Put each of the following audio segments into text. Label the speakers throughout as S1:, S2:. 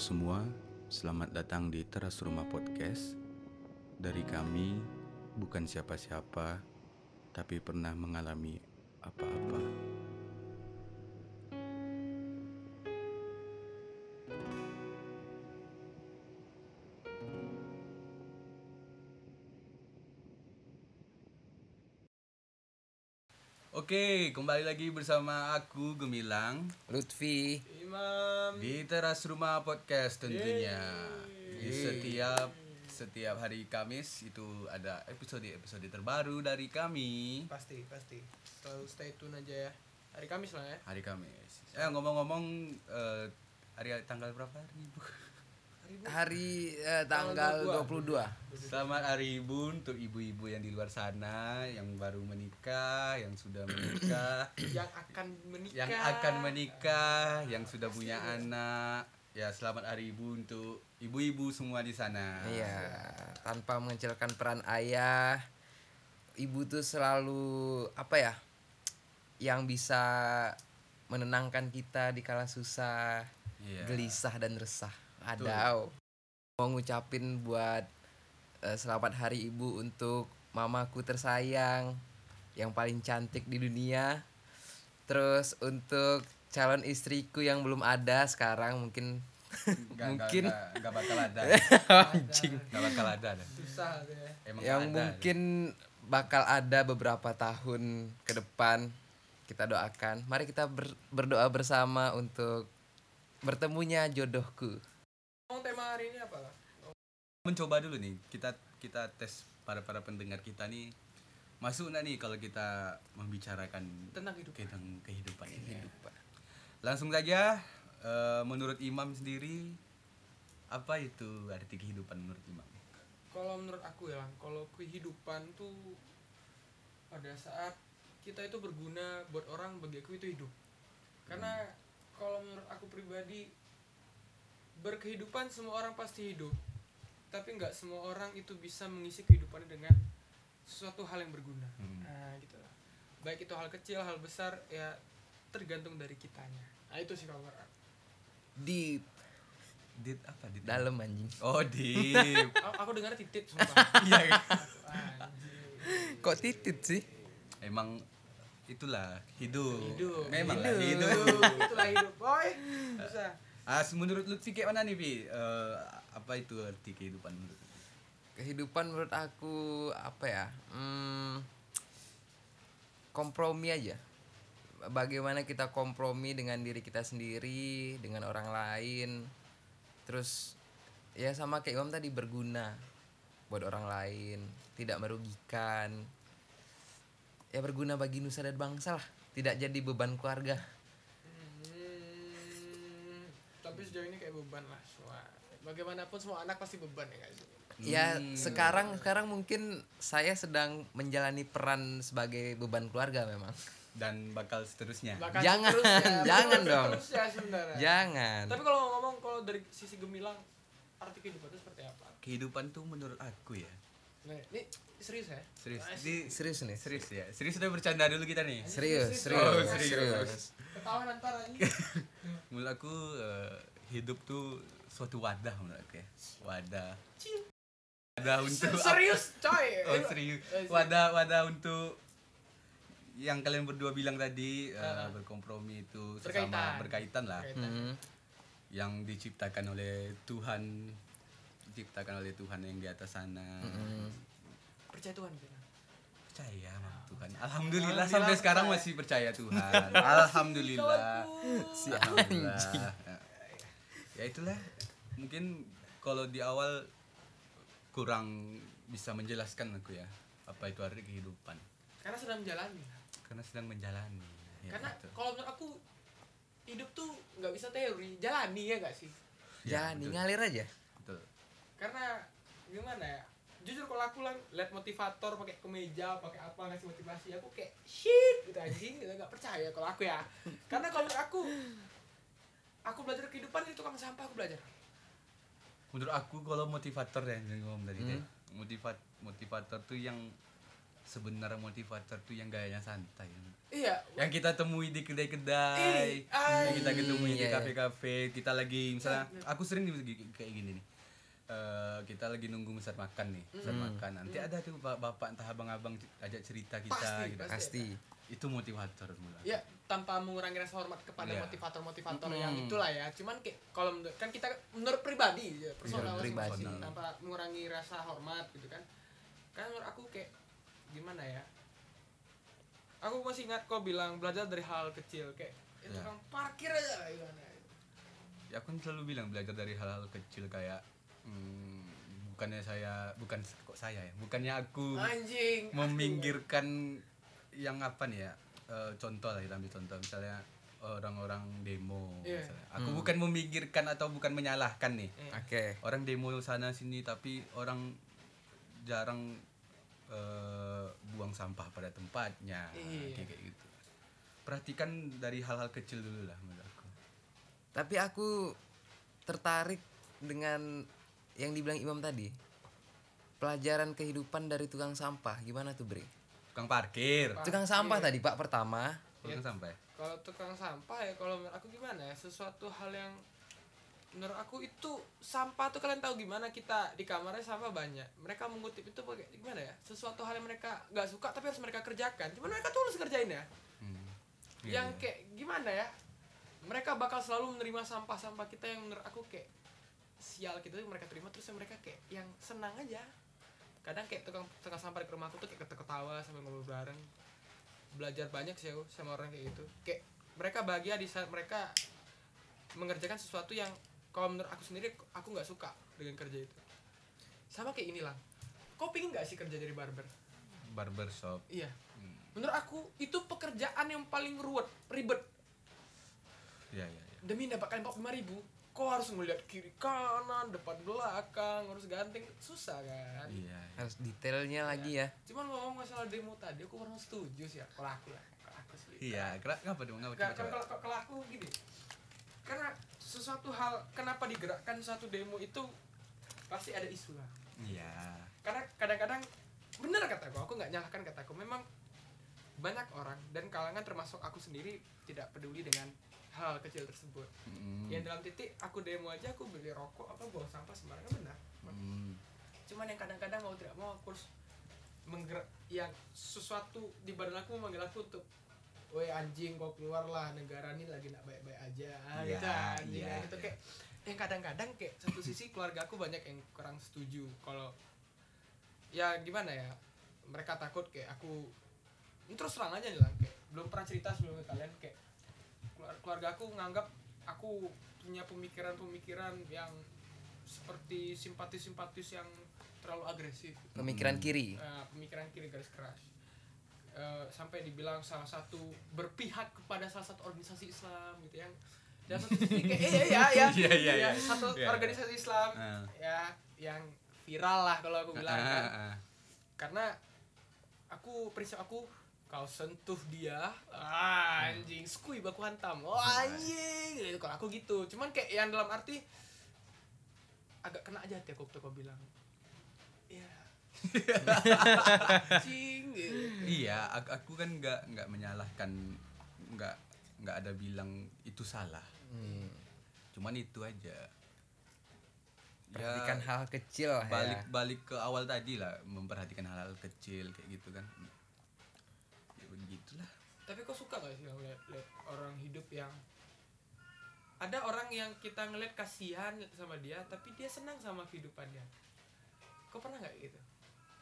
S1: semua, selamat datang di Teras Rumah Podcast. Dari kami, bukan siapa-siapa, tapi pernah mengalami apa-apa. Oke, kembali lagi bersama aku Gemilang
S2: Lutfi
S3: Imam
S1: di teras rumah podcast tentunya di setiap setiap hari Kamis itu ada episode episode terbaru dari kami
S3: pasti pasti selalu stay tune aja ya hari Kamis lah ya
S1: hari Kamis eh ngomong-ngomong eh, hari tanggal berapa hari ibu
S2: hari eh, tanggal 22.
S1: selamat hari ibu untuk ibu-ibu yang di luar sana yang baru menikah yang sudah menikah
S3: yang akan menikah
S1: yang akan menikah yang sudah punya anak ya selamat hari ibu untuk ibu-ibu semua di sana
S2: Iya, tanpa mengecilkan peran ayah, ibu tuh selalu apa ya? Yang bisa menenangkan kita di kala susah,
S1: Iya.
S2: gelisah dan resah. Adau. Mau ngucapin buat eh, selamat hari ibu untuk mamaku tersayang yang paling cantik di dunia. Terus untuk calon istriku yang belum ada sekarang mungkin
S1: Nggak- nggak-
S2: mungkin
S1: nggak nggak bakal ada
S2: anjing
S1: nggak bakal ada dah.
S3: susah tuh ya
S1: Emang
S2: yang
S1: nggak ada.
S2: mungkin bakal ada beberapa tahun ke depan kita doakan mari kita ber- berdoa bersama untuk bertemunya jodohku
S3: ngomong tema hari ini apa lah
S1: mencoba dulu nih kita kita tes para para pendengar kita nih masuk nggak nih kalau kita membicarakan
S3: tentang hidup
S1: tentang kehidupan ini langsung saja eh, menurut Imam sendiri apa itu arti kehidupan menurut Imam
S3: kalau menurut aku ya Lang, kalau kehidupan tuh pada saat kita itu berguna buat orang bagi aku itu hidup karena kalau menurut aku pribadi berkehidupan semua orang pasti hidup tapi nggak semua orang itu bisa mengisi kehidupannya dengan sesuatu hal yang berguna nah gitu lah. baik itu hal kecil hal besar ya tergantung dari kitanya nah itu sih kalau menurut aku
S2: di
S1: dit apa dit
S2: dalam anjing
S1: oh dit
S3: aku, aku dengar titip sumpah
S1: iya
S3: Anjir.
S2: kok titit sih
S1: emang itulah hidup
S3: hidup
S1: memang
S3: hidup.
S1: lah, hidup.
S3: itulah hidup boy bisa
S1: Ah, menurut Lutfi kayak mana nih Pi? Eh, apa itu arti kehidupan menurut Lutfi?
S2: kehidupan menurut aku apa ya hmm, kompromi aja bagaimana kita kompromi dengan diri kita sendiri dengan orang lain terus ya sama kayak Imam tadi berguna buat orang lain tidak merugikan ya berguna bagi nusa dan bangsa lah tidak jadi beban keluarga
S3: Hmm, tapi sejauh ini kayak beban lah semua bagaimanapun semua anak pasti beban ya guys
S2: ya sekarang sekarang mungkin saya sedang menjalani peran sebagai beban keluarga memang
S1: dan bakal seterusnya.
S3: Bahkan ya,
S2: Jangan,
S3: seterusnya,
S2: jangan
S3: bahkan
S2: dong.
S3: seterusnya ya sebenarnya
S2: jangan
S3: tapi kalau ngomong kalau dari sisi gemilang arti kehidupan itu seperti apa
S1: kehidupan tuh menurut aku ya
S3: nah, ini serius ya
S1: serius
S3: Nah,
S1: Di-
S2: serius nih
S1: serius ya serius udah bercanda dulu kita nih
S2: serius
S3: Serius,
S1: Oh,
S2: serius, serius.
S1: serius.
S3: ketahuan ntar aja
S1: menurut aku eh, hidup tuh suatu wadah menurut aku ya wadah wadah untuk
S3: serius coy Eh,
S1: oh serius wadah wadah untuk yang kalian berdua bilang tadi eh, berkompromi itu sesama berkaitan lah
S3: Berkaitan.
S2: Mhm.
S1: yang diciptakan oleh Tuhan diciptakan oleh Tuhan yang di atas sana
S3: percaya Tuhan Gemilang.
S1: percaya sama Tuhan. Alhamdulillah sampai sekarang masih percaya Tuhan. Alhamdulillah. Si anjing. Ya itulah. Mungkin kalau di awal kurang bisa menjelaskan aku ya apa itu arti kehidupan
S3: karena sedang menjalani
S1: karena sedang menjalani.
S2: Iya,
S1: Ya,
S3: karena
S1: gitu.
S3: kalau menurut aku hidup tuh nggak bisa teori jalani ya gak sih
S2: ya, nih ngalir aja
S1: Betul.
S3: karena gimana ya jujur kalau aku lang lihat motivator pakai kemeja pakai apa ngasih motivasi aku kayak shit gitu anjing gitu nggak percaya kalau aku ya karena kalau menurut aku aku belajar kehidupan dari tukang sampah aku belajar
S1: Menurut aku kalau motivator ya yang ngomong tadi
S3: Hmm.
S1: deh. Motivat motivator tuh yang sebenarnya motivator tuh yang gayanya santai.
S3: eh Iya.
S1: yang kita temui di kedai-kedai,
S3: Ih, ay.
S1: yang kita ketemui di
S2: Iya, iya.
S1: kafe-kafe, kita lagi misalnya
S3: Iya,
S1: aku sering di- di- kayak gini nih. Eh, kita lagi nunggu pesan makan nih, pesan
S3: Hmm.
S1: makan. Nanti ada tuh ba- bapak entah abang-abang c- ajak cerita kita
S3: Pasti,
S1: gitu.
S2: pasti
S1: Itu motivator mula.
S3: Ya, tanpa mengurangi rasa hormat kepada
S1: Iya.
S3: motivator-motivator yang itulah ya. Cuman kayak kalau menurut kan kita menurut pribadi ya, personal
S2: Menurut pribadi.
S3: masing-masing, tanpa mengurangi rasa hormat gitu kan. Kan menurut aku kayak gimana ya? Aku masih ingat kau bilang belajar dari hal kecil kayak ya,
S1: Iya.
S3: tukang parkir aja lah gimana.
S1: Ya aku selalu bilang belajar dari hal-hal kecil kayak hmm, bukannya saya bukan kok saya ya, bukannya aku
S3: Oh, iya, Anjing.
S1: meminggirkan yang apa nih ya Eh, contoh lah kita ambil contoh misalnya orang-orang demo
S3: Iya.
S1: misalnya. aku bukan memikirkan atau bukan menyalahkan nih
S2: oke
S3: Iya.
S1: orang demo sana sini tapi orang jarang eh, buang sampah pada tempatnya
S3: Iya.
S1: kayak kayak gitu perhatikan dari hal-hal kecil dulu lah menurut aku
S2: tapi aku tertarik dengan yang dibilang Imam tadi pelajaran kehidupan dari tukang sampah gimana tuh Bre
S1: tukang parkir
S2: tukang sampah tadi Pak pertama
S1: tukang sampah ya?
S3: kalau tukang sampah ya kalau menurut aku gimana ya sesuatu hal yang menurut aku itu sampah tuh kalian tahu gimana kita di kamarnya sampah banyak mereka mengutip itu pakai gimana ya sesuatu hal yang mereka nggak suka tapi harus mereka kerjakan cuman mereka tulus kerjain ya
S1: Hmm. Iya,
S3: yang
S1: iya.
S3: kayak gimana ya mereka bakal selalu menerima sampah-sampah kita yang menurut aku kayak sial gitu mereka terima terus yang mereka kayak yang senang aja kadang kayak tukang tukang sampah di rumahku tuh kayak ketawa sambil ngobrol bareng belajar banyak sih aku sama orang kayak gitu kayak mereka bahagia di saat mereka mengerjakan sesuatu yang kalau menurut aku sendiri aku nggak suka dengan kerja itu sama kayak inilah kau pingin nggak sih kerja jadi barber
S1: barbershop
S3: Iya. Menurut aku itu pekerjaan yang paling ruwet, ribet.
S1: ya ya ya
S3: Demi mendapatkan 45 ribu, kau harus ngeliat kiri kanan, depan belakang, harus ganteng, susah kan.
S1: iya iya.
S2: harus detailnya lagi ya
S3: Cuman ngomong masalah demo tadi, aku kurang setuju sih ya. Kalau aku ya, kalau aku sih.
S1: iya kenapa kenapa dong Kenapa?
S3: Nggak,
S1: Coba,
S3: kalau
S1: coba.
S3: kalau kalau- kalau aku gini, karena sesuatu hal kenapa digerakkan suatu demo itu pasti ada isu lah.
S1: iya
S3: karena kadang-kadang bener kataku aku nggak nyalahkan kataku memang banyak orang dan kalangan termasuk aku sendiri tidak peduli dengan hal kecil tersebut
S1: Hmm.
S3: yang Ya, dalam titik aku demo aja aku beli rokok apa buang sampah sembarangan benar
S1: Hmm.
S3: cuman yang kadang-kadang mau tidak mau aku harus menggerak yang sesuatu di badan aku memanggil aku untuk woi anjing kau keluarlah negara ini lagi nak baik-baik aja Ah,
S1: Iya,
S3: gitu anjing
S1: iya,
S3: kayak gitu
S1: iya.
S3: kayak yang kadang-kadang kayak satu sisi keluarga aku banyak yang kurang setuju kalau ya gimana ya mereka takut kayak aku ini terus terang aja nih lah kayak belum pernah cerita sebelumnya kalian kayak keluar- keluarga aku nganggap aku punya pemikiran-pemikiran yang seperti simpatis-simpatis yang terlalu agresif
S2: pemikiran kiri
S3: Eh, pemikiran kiri garis keras Eh, sampai dibilang salah satu berpihak kepada salah satu organisasi Islam gitu yang dan satu sisi kayak eh, iya iya
S1: Iya,
S3: iya
S1: iya, iya.
S3: satu
S1: Iya, iya.
S3: organisasi Islam
S1: Ah.
S3: ya yang viral lah kalau aku bilang
S1: Ah,
S3: kan
S1: ah, ah.
S3: karena aku prinsip aku kau sentuh dia ah, anjing skui baku hantam oh anjing gitu kalau aku gitu cuman kayak yang dalam arti agak kena aja hati aku waktu kau bilang ya anjing gitu.
S1: Iya, aku, aku kan nggak nggak menyalahkan, nggak nggak ada bilang itu salah.
S2: Hmm.
S1: Cuman itu aja.
S2: perhatikan
S1: ya,
S2: hal kecil lah
S1: balik
S2: ya
S1: balik ke awal tadi lah, memperhatikan hal-hal kecil kayak gitu kan. Ya begitulah.
S3: tapi kau suka gak sih kalau lihat lihat orang hidup yang ada orang yang kita ngeliat kasihan sama dia tapi dia senang sama kehidupannya kau pernah nggak gitu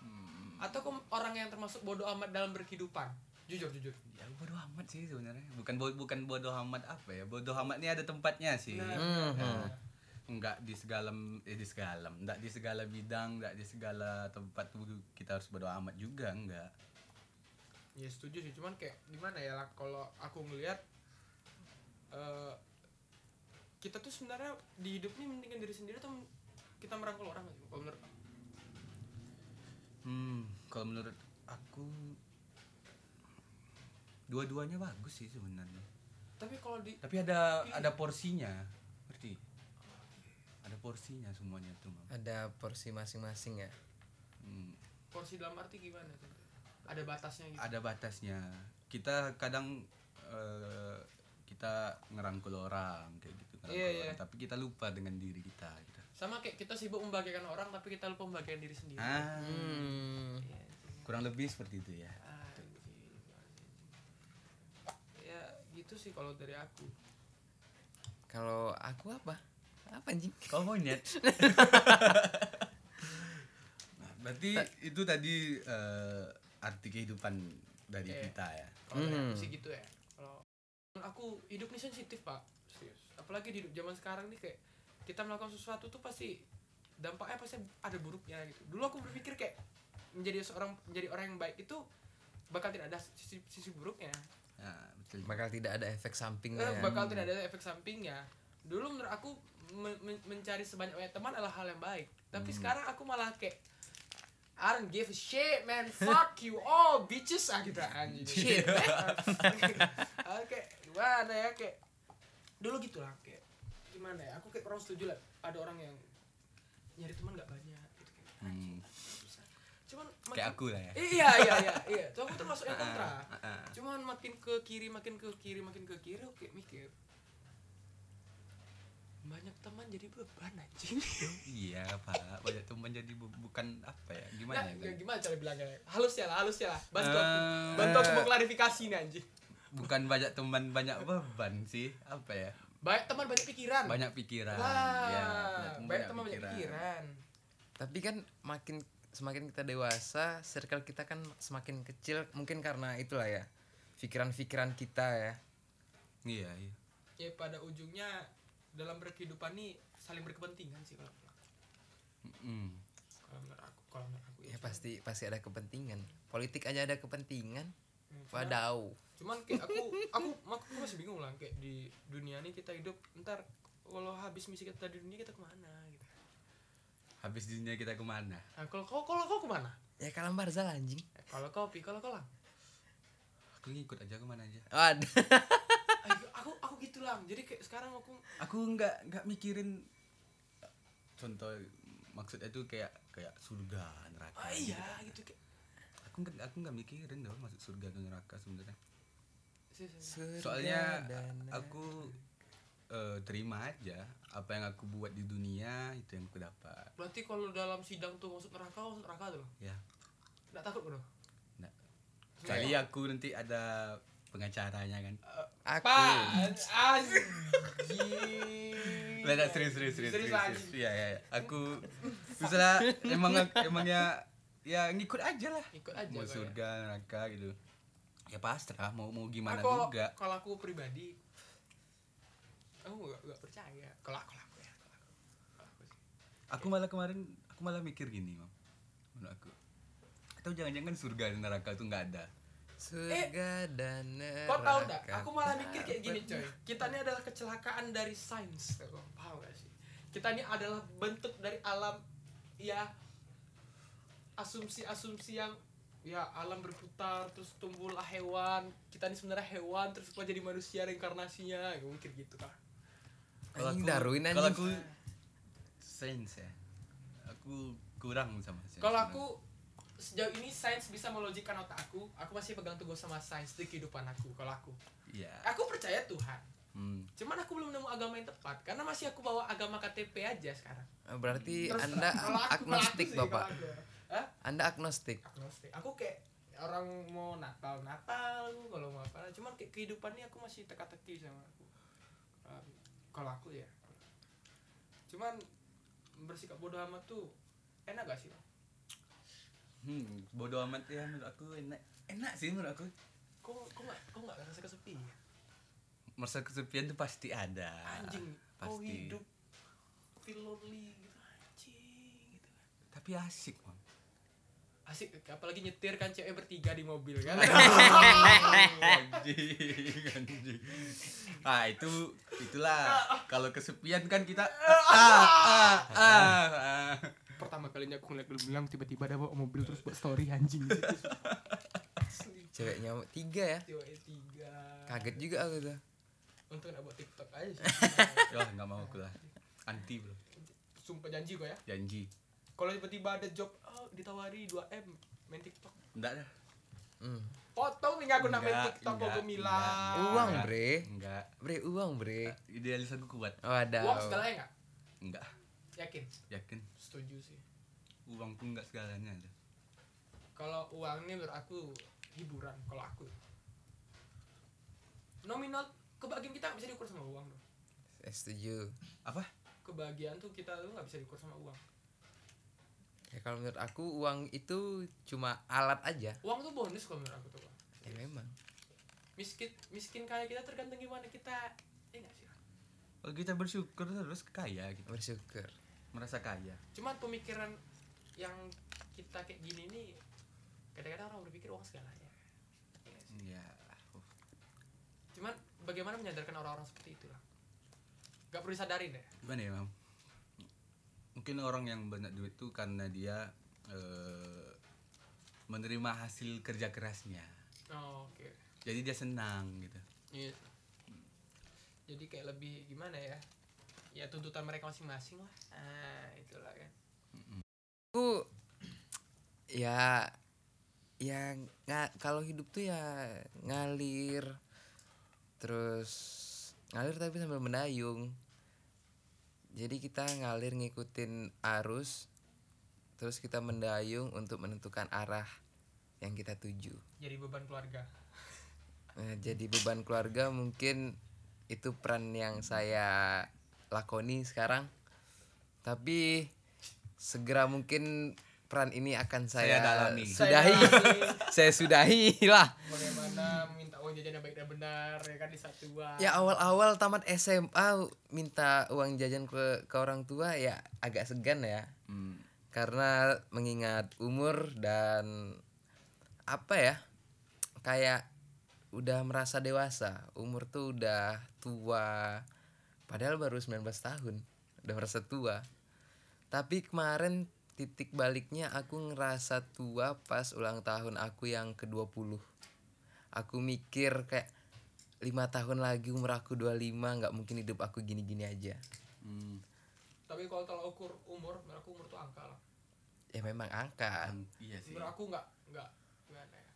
S1: Hmm,
S3: atau kau orang yang termasuk bodoh amat dalam berkehidupan jujur jujur
S1: ya bodoh amat sih sebenarnya. Bukan bo- bukan bodoh amat apa ya? Bodoh amat ini ada tempatnya
S3: Hmm.
S1: sih.
S3: Nah.
S2: Mhm.
S1: Enggak di segala eh, di segala, enggak di segala bidang, enggak di segala tempat tuh kita harus bodoh amat juga, enggak.
S3: ya setuju sih cuman kayak gimana ya lah kalau aku ngelihat eh kita tuh sebenarnya di hidup ini mendingan diri sendiri atau kita merangkul orang nggak sih? kalau menurut kamu?
S1: Hmm, kalau menurut aku dua-duanya bagus sih sebenarnya.
S3: tapi kalau di
S1: Tapi ada ada porsinya, ngerti? Ada porsinya semuanya tuh, Mam.
S2: ada porsi masing-masing ya
S1: Hmm,
S3: porsi dalam arti gimana tuh? ada batasnya gitu
S1: ada batasnya. kita kadang eh, kita ngerangkul orang kayak gitu ngerangkul
S3: Iya, iya.
S1: orang, tapi kita lupa dengan diri kita gitu.
S3: sama kayak kita sibuk membahagiakan orang tapi kita lupa membahagiakan diri sendiri
S1: Ah,
S2: Hmm.
S3: Iya, anjing.
S1: kurang lebih seperti itu ya.
S3: Anjing, anjing. ya gitu sih kalau dari aku
S2: Kalau aku apa? Apa anjing?
S1: Kau monyet. Nah, berarti itu tadi eh, arti kehidupan dari
S3: Iya.
S1: kita ya.
S3: kalau dari aku
S2: Hmm.
S3: sih gitu ya kalau menurut aku hidup ini sensitif pak serius apalagi di hidup zaman sekarang nih kayak kita melakukan sesuatu tuh pasti dampaknya pasti ada buruknya gitu dulu aku berpikir kayak menjadi seorang menjadi orang yang baik itu bakal tidak ada sisi, sisi buruknya
S1: Nah, betul.
S2: Bakal tidak ada efek sampingnya.
S3: Eh, bakal tidak ada efek sampingnya dulu menurut aku men- men- mencari sebanyak banyak teman adalah hal yang baik tapi sekarang aku malah kayak I don't give a shit man fuck you all bitches ah gitu anjing
S2: Shit.
S3: Ah, kayak gimana ya kayak dulu gitu lah kayak gimana ya aku kayak kurang setuju lah ada orang yang nyari teman nggak banyak gitu kayak anjing
S1: Hmm.
S3: susah cuman
S1: Kayak aku lah ya.
S3: iya iya iya iya tuh aku termasuk yang kontra
S1: Ah, ah, ah.
S3: cuman makin ke kiri makin ke kiri makin ke kiri oke mikir banyak teman jadi beban anjing
S1: Iya pak, banyak teman jadi bu- bukan apa ya,
S3: nah,
S1: gimana ya?
S3: ya
S1: Bang?
S3: gimana cara bilangnya halus ya lah halus ya lah bantu aku
S1: Eh.
S3: bantu aku mau klarifikasi nih anjing
S1: Bukan banyak teman banyak beban sih, apa ya?
S3: banyak teman banyak pikiran
S1: Banyak pikiran.
S3: Wah,
S1: ya,
S3: banyak teman banyak pikiran
S2: Tapi kan makin semakin kita dewasa, circle kita kan semakin kecil. Mungkin karena itulah ya, pikiran-pikiran kita ya.
S1: Iya, iya.
S3: ya pada ujungnya dalam berkehidupan nih saling berkepentingan sih kalau
S1: Mm.
S3: kalau menurut aku kalau menurut aku
S2: Ya pasti pasti ada kepentingan. Politik aja ada kepentingan.
S3: Hmm, cuman-
S2: Wadau.
S3: cuman kayak aku aku aku masih bingung lah kayak di dunia ini kita hidup ntar kalau habis misi kita di dunia kita kemana gitu
S1: Habis dunia kita kemana?
S3: nah, kalau kau kalau kau kemana
S2: Ya kalam barzal anjing.
S3: Eh, kalau kau pi kalau kau lang
S1: Aku ngikut aja kemana aja.
S2: Waduh.
S3: Ayo, aku aku gitu lang jadi kayak sekarang aku
S1: Aku nggak nggak mikirin contoh maksudnya itu kayak kayak surga neraka.
S3: ah,
S1: gitu.
S3: iya gitu kayak
S1: Aku nggak aku nggak mikirin dong masuk surga atau neraka sebenarnya.
S3: Serius, serius.
S1: soalnya
S2: Surga dan
S1: aku eh, terima aja apa yang aku buat di dunia itu yang aku dapat
S3: berarti kalau dalam sidang tuh masuk neraka masuk neraka tuh
S1: ya
S3: nggak takut bro
S1: nah, kali aku nanti ada pengacaranya kan
S2: aku.
S3: pak anjing
S1: Lah, nah, serius serius serius serius,
S3: Serius,
S1: serius.
S3: anjing.
S1: Iya, iya, iya. aku misalnya emang emangnya ya ngikut aja lah
S3: Ikut aja
S1: mau
S3: kok ya.
S1: surga neraka gitu ya pasrah mau mau gimana
S3: Aku-
S1: juga
S3: Ah, kalau aku pribadi aku nggak nggak percaya kalau kalau aku ya kalau aku, kalau aku sih.
S1: aku malah kemarin aku malah mikir gini mam menurut aku atau jangan-jangan surga dan neraka itu nggak ada
S2: Surga dan neraka.
S3: Kau tahu nggak? Aku malah mikir kayak gini coy. Kita ini adalah kecelakaan dari sains. Kau Paham gak sih? Kita ini adalah bentuk dari alam ya asumsi-asumsi yang ya alam berputar terus tumbuhlah hewan kita ini sebenarnya hewan terus kita jadi manusia reinkarnasinya ya, mungkin gitu kan
S2: Anjing Darwin anjing.
S1: kalau aku sains ya aku kurang sama
S2: Ya,
S1: sains
S3: Kalau aku sejauh ini sains bisa melogikkan otak aku, aku masih pegang teguh sama sains di kehidupan aku. Kalau aku,
S1: iya
S3: aku percaya Tuhan.
S1: hmm.
S3: Cuman aku belum nemu agama yang tepat karena masih aku bawa agama KTP aja sekarang.
S2: Ah, Berarti
S3: Terus,
S2: Iya, Anda
S3: kalau aku- kalau aku
S2: agnostik,
S3: sih,
S2: Bapak.
S3: kalau aku. Hah?
S2: Anda agnostik.
S3: Agnostik. Aku kayak orang mau Natal Natal aku kalau mau apa cuman kayak kehidupannya aku masih teka-teki sama aku Kalau aku- kalau aku ya cuman bersikap bodoh amat tuh enak gak sih Bang?
S1: hmm bodoh amat ya menurut aku enak enak sih menurut aku
S3: kok kok gak kok gak ngerasa kesepian
S1: merasa kesepian tuh pasti ada
S3: anjing
S1: pasti
S3: kau hidup feel lonely gitu anjing gitu kan
S1: tapi asik mam
S3: asik apalagi nyetir kan cewek bertiga di mobil kan
S1: anjing anjing ah itu itulah kalau kesepian kan kita ah ah ah, ah.
S3: pertama kalinya aku ngeliat lu bilang tiba-tiba ada bawa mobil terus buat story anjing Asli.
S2: Ceweknya tiga ya.
S3: cewek tiga
S2: Kaget juga aku tuh.
S3: untung gak buat tiktok aja sih.
S1: Wah, nggak mau aku lah anti bro
S3: sumpah janji gua ya
S1: janji
S3: kalau tiba-tiba ada job oh, ditawari 2 m main tiktok
S1: enggak dah
S2: Hmm.
S3: Potong nih aku
S1: Enggak,
S3: namanya TikTok
S1: enggak,
S3: Koko
S1: enggak,
S3: Mila.
S1: enggak.
S2: Uang, bre.
S1: Enggak.
S2: Bre, uang, bre.
S1: Idealis aku kuat.
S2: Waduh.
S3: Uang segalanya enggak?
S1: Enggak.
S3: Yakin?
S1: Yakin.
S3: Setuju sih.
S1: Uang tuh enggak segalanya aja.
S3: Kalau uang nih menurut aku hiburan kalau aku. Nominal kebahagiaan kita nggak bisa diukur sama uang loh.
S2: Eh, setuju.
S1: Apa?
S3: Kebahagiaan tuh kita tuh nggak bisa diukur sama uang.
S2: Ya kalau menurut aku uang itu cuma alat aja.
S3: Uang tuh bonus kalau menurut aku tuh. Bang.
S2: Ya memang.
S3: Miskin miskin kaya kita tergantung gimana kita. Eh nggak sih.
S1: Kalau kita bersyukur terus kaya gitu.
S2: Bersyukur.
S1: Merasa kaya.
S3: Cuman pemikiran yang kita kayak gini nih kadang-kadang orang berpikir uang segalanya. Iya nggak sih?
S1: Iya.
S3: Cuman bagaimana menyadarkan orang-orang seperti itu lah. Gak perlu disadarin ya.
S1: Gimana ya, Mam? Mungkin orang yang banyak duit tuh karena dia eh, menerima hasil kerja kerasnya.
S3: Oh, Oke.
S1: Jadi dia senang gitu.
S3: Iya. Jadi kayak lebih gimana ya? Ya tuntutan mereka masing-masing lah. Ah, itulah kan.
S2: Aku ya ya nga- kalau hidup tuh ya ngalir terus ngalir tapi sambil mendayung jadi kita ngalir ngikutin arus terus kita mendayung untuk menentukan arah yang kita tuju
S3: Jadi beban keluarga.
S2: Eh, jadi beban keluarga mungkin itu peran yang saya lakoni sekarang tapi segera mungkin peran ini akan saya,
S1: Saya dalami.
S2: sudahi saya sudahi lah
S3: Bagaimana minta uang jajan yang baik dan benar ya kan di satu uang.
S2: ya awal-awal tamat SMA minta uang jajan ke ke orang tua ya agak segan ya
S1: Hmm.
S2: karena mengingat umur dan apa ya kayak udah merasa dewasa umur tuh udah tua padahal baru 19 tahun udah merasa tua tapi kemarin titik baliknya aku ngerasa tua pas ulang tahun aku yang ke-20 aku mikir kayak lima tahun lagi umur aku 25 nggak mungkin hidup aku gini-gini aja
S1: Hmm.
S3: Tapi kalau tolak ukur umur, menurut aku umur tuh angka lah.
S2: ya memang angka
S1: Ang- Iya sih.
S3: Menurut aku nggak nggak gimana ya.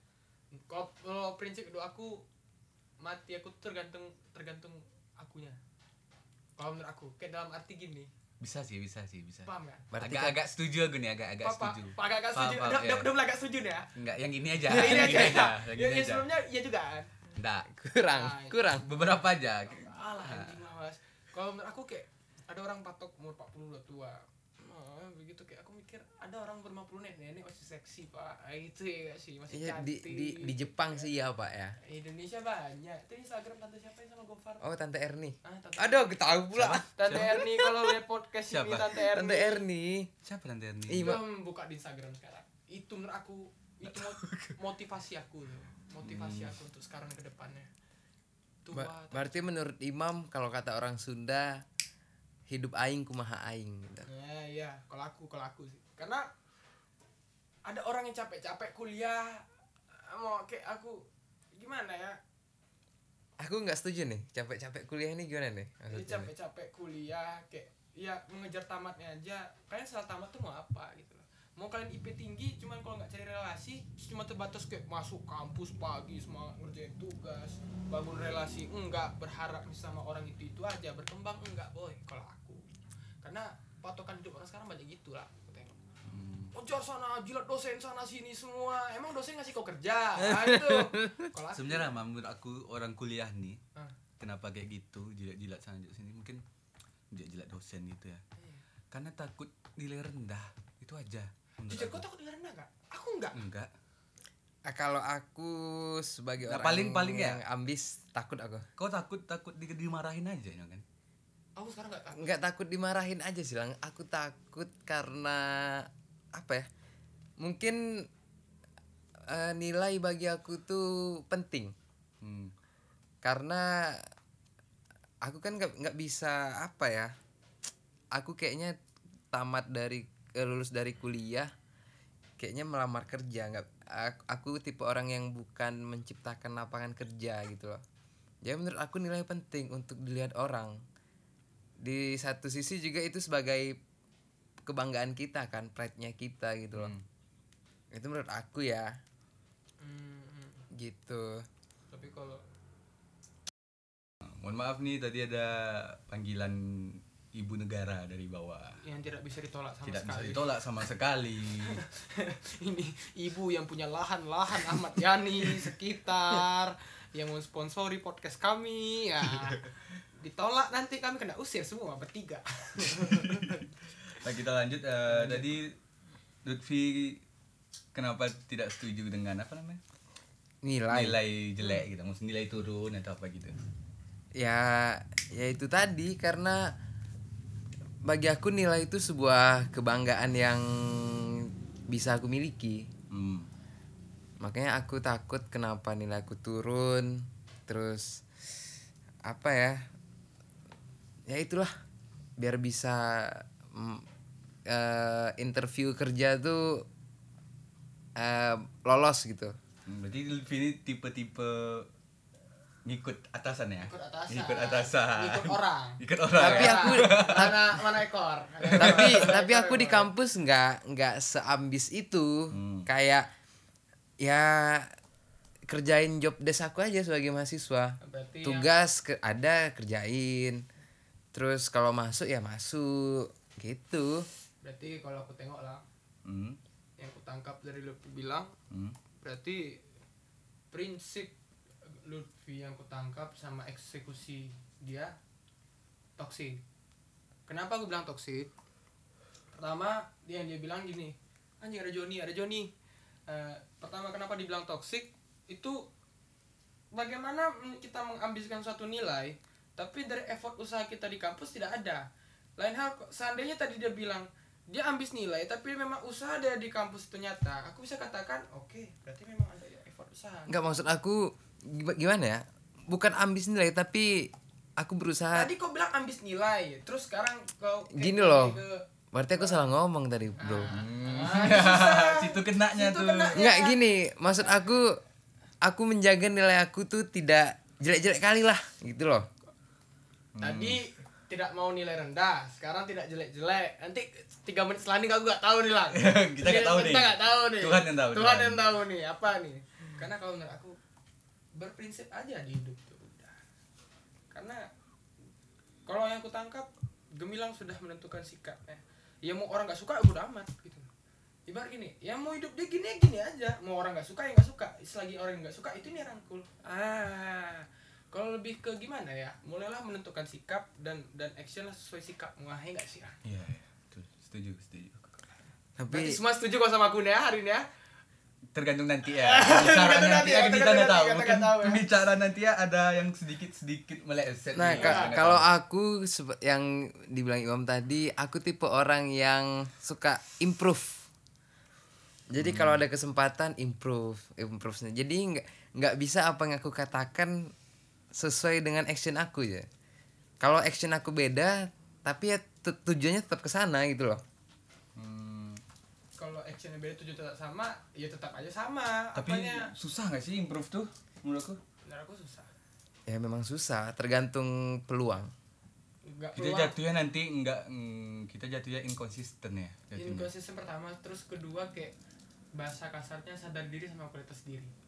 S3: Kalau kalau prinsip hidup aku mati aku tuh tergantung tergantung akunya. Kalau menurut aku, kayak dalam arti gini,
S1: Bisa sih, bisa sih, bisa.
S3: paham nggak?
S1: agak
S2: berarti kan-
S1: agak setuju aku nih, agak Iya. agak
S3: Papa,
S1: setuju.
S3: Pak agak
S1: Paham,
S3: setuju.
S1: paham,
S3: Udah
S1: iya.
S3: udah udah mulai agak setuju nih ya.
S1: Enggak, yang Nah, ini aja.
S3: Ya, ini
S1: yang
S3: aja.
S1: ini aja, yang
S3: Ya,
S1: ini
S3: ya,
S1: aja.
S3: sebelumnya ya juga kan.
S1: Enggak.
S2: kurang kurang
S1: Beberapa aja.
S3: Alah anjing lah mas. Kalau menurut aku kayak ada orang patok umur 40 udah tua. Ah, begitu kayak aku mikir ada orang umur 50 nenek nenek masih seksi pak Ah, itu ya nggak sih masih
S2: Iya di,
S3: cantik
S2: di di Jepang sih ya pak ya.
S3: Indonesia banyak itu Instagram tante siapa yang sama Gofar
S2: Oh tante Erni.
S3: ah, tante
S2: Aduh aku tahu pula.
S3: tante Erni kalau lihat podcast ini
S1: Siapa?
S3: tante Erni
S2: Tante Erni.
S1: Siapa nanti ini?
S2: Ih,
S3: Belum buka di Instagram sekarang. Itu menurut aku itu mot- motivasi aku tuh. Motivasi aku untuk sekarang ke depannya. Tua.
S2: Ba- berarti menurut Imam kalau kata orang Sunda hidup aing kumaha aing gitu.
S3: Nah, iya, kalau aku kalau aku sih. Karena ada orang yang capek-capek kuliah mau kayak aku gimana ya?
S2: Aku nggak setuju nih capek-capek kuliah ini gimana nih?
S3: Dia
S2: Maksudnya?
S3: capek-capek kuliah kayak ya mengejar tamatnya aja. Kalian setelah tamat tuh mau apa gitu loh. Mau kalian IP tinggi cuman kalau nggak cari relasi cuma terbatas kayak masuk kampus pagi semangat ngerjain tugas, bangun relasi enggak berharap sama orang itu itu aja berkembang enggak boy kalau aku. Karena patokan hidup orang sekarang banyak gitu lah. aku tengok.
S1: Hmm.
S3: Ojar sana, jilat dosen sana sini semua. Emang dosen ngasih kau kerja? Nah, itu. Kalau aku-
S1: Sebenarnya Mam, menurut aku orang kuliah nih
S3: Ah,
S1: kenapa kayak gitu jilat-jilat sana jilat sini mungkin jilat-jilat dosen gitu ya.
S3: iya.
S1: Karena takut nilai rendah itu aja. menurut
S3: Jujur,
S1: aku.
S3: kau takut dengar rendah nggak? Aku enggak.
S1: Enggak.
S2: Ah, kalau aku sebagai
S1: Nah,
S2: orang
S1: paling-paling ya?
S2: yang ambis takut aku.
S1: Kau takut takut di- dimarahin aja ya kan?
S3: Aku sekarang nggak takut.
S2: nggak takut dimarahin aja sih lang aku takut karena apa ya mungkin eh, nilai bagi aku tuh penting
S1: Hmm.
S2: karena aku kan nggak nggak bisa apa ya aku kayaknya tamat dari eh, lulus dari kuliah kayaknya melamar kerja nggak aku, aku tipe orang yang bukan menciptakan lapangan kerja gitu loh jadi menurut aku nilai penting untuk dilihat orang di satu sisi juga itu sebagai kebanggaan kita kan pride nya kita gitu loh itu menurut aku ya
S3: Hmm, hmm.
S2: gitu
S3: tapi kalau
S1: Mohon maaf nih tadi ada panggilan ibu negara dari bawah.
S3: yang tidak bisa ditolak sama
S1: Tidak bisa
S3: sekali
S1: ditolak sama sekali.
S3: ini ibu yang punya lahan-lahan Ahmad Yani sekitar yang mau sponsori podcast kami ya ditolak nanti kami kena usir semua bertiga
S1: Nah, kita lanjut eh, tadi Lutfi kenapa tidak setuju dengan apa namanya?
S2: nilai
S1: Nilai
S3: Hmm.
S1: jelek gitu, maksud nilai turun atau apa gitu.
S2: ya ya itu tadi karena bagi aku nilai itu sebuah kebanggaan yang bisa aku miliki
S1: Hmm.
S2: makanya aku takut kenapa nilai aku turun terus apa ya ya itulah biar bisa mm, eh, interview kerja tuh eh, lolos gitu
S1: Hmm, Berarti Lutfi ini tipe-tipe ngikut atasan ya?
S3: Ngikut atasan.
S1: Ngikut atasan.
S3: Ngikut orang.
S1: Ngikut orang.
S2: Tapi
S1: ya?
S2: aku-
S3: mana mana ekor
S2: tapi tapi aku di kampus nggak nggak seambis itu
S1: Hmm.
S2: kayak ya kerjain job desk aku aja sebagai mahasiswa
S3: Berarti yang-
S2: tugas ke, ada kerjain terus kalau masuk ya masuk gitu
S3: berarti kalau aku tengok lah
S1: Hmm.
S3: yang aku tangkap dari Lutfi bilang
S1: Hmm.
S3: berarti prinsip Lutfi yang aku tangkap sama eksekusi dia toksik kenapa aku bilang toksik pertama dia dia bilang gini anjing ada Joni ada Joni Eh, pertama kenapa dibilang toksik itu bagaimana men- kita mengambiskan suatu nilai tapi dari effort usaha kita di kampus tidak ada lain hal ko- seandainya tadi dia bilang dia ambis nilai tapi memang usaha dia di kampus ternyata aku bisa katakan oke berarti memang ada ya effort usaha
S2: nggak maksud aku giba- gimana ya bukan ambis nilai tapi aku berusaha
S3: tadi kau bilang ambis nilai terus sekarang kau kayak
S2: Ah. Gini loh.
S3: ke-
S2: berarti aku salah ngomong tadi bro
S3: Ah, susah.
S1: Situ kenaknya
S3: Situ
S1: tuh.
S3: kenanya. kan?
S2: nggak gini maksud aku aku menjaga nilai aku tuh tidak jelek-jelek kali lah gitu loh
S3: tadi tidak mau nilai rendah sekarang tidak jelek-jelek nanti tiga menit selanjutnya aku gak tahu nih lang
S1: Kita nggak tahu nih.
S3: kita gak tahu nih
S1: Tuhan yang tahu,
S3: Tuhan
S1: Tuhan.
S3: yang tahu nih apa nih karena kalau menurut aku berprinsip aja di hidup tuh udah karena kalau yang aku tangkap gemilang sudah menentukan sikapnya ya mau orang gak suka ya bodo amat gitu ibarat gini ya mau hidup dia gini ya gini aja mau orang gak suka ya gak suka selagi orang yang gak suka itu nih rangkul ah kalau lebih ke gimana ya mulailah menentukan sikap dan dan action lah sesuai sikap ngahe gak sih ah?
S1: Iya, iya. Betul. setuju, setuju.
S2: tapi
S3: Berarti semua setuju kok sama aku nih ya hari ini ya
S1: tergantung nanti ya bicara
S3: Tergantung
S1: nanti ya
S3: nanti ya,
S1: kita nggak
S3: tergantung
S1: tahu
S3: nanti,
S1: mungkin
S3: kita nggak tahu ya.
S1: pembicara nanti ya ada yang sedikit sedikit meleset
S3: Iya,
S2: Nah,
S1: nih, gitu,
S2: ka-
S1: kita nggak
S2: kalau
S1: tahu.
S2: aku sep- yang dibilang Imam tadi, aku tipe orang yang suka improve. Jadi kalau
S3: Hmm.
S2: ada kesempatan improve, improve. sendiri. Jadi nggak nggak bisa apa yang aku katakan sesuai dengan action aku ya. Kalau action aku beda, tapi ya tu- tujuannya tetap ke sana gitu loh.
S1: Hmm,
S3: kalau actionnya beda tujuan tetap sama ya tetap aja sama
S1: tapi
S3: apanya
S1: susah nggak sih improve tuh menurutku
S3: menurut aku susah
S2: Ya memang susah, tergantung peluang.
S3: nggak
S1: kita
S3: peluang.
S1: jatuhnya nanti nggak mm, kita jatuhnya inkonsisten ya jatuhnya.
S3: Inconsistent pertama terus kedua kayak bahasa kasarnya sadar diri sama kualitas diri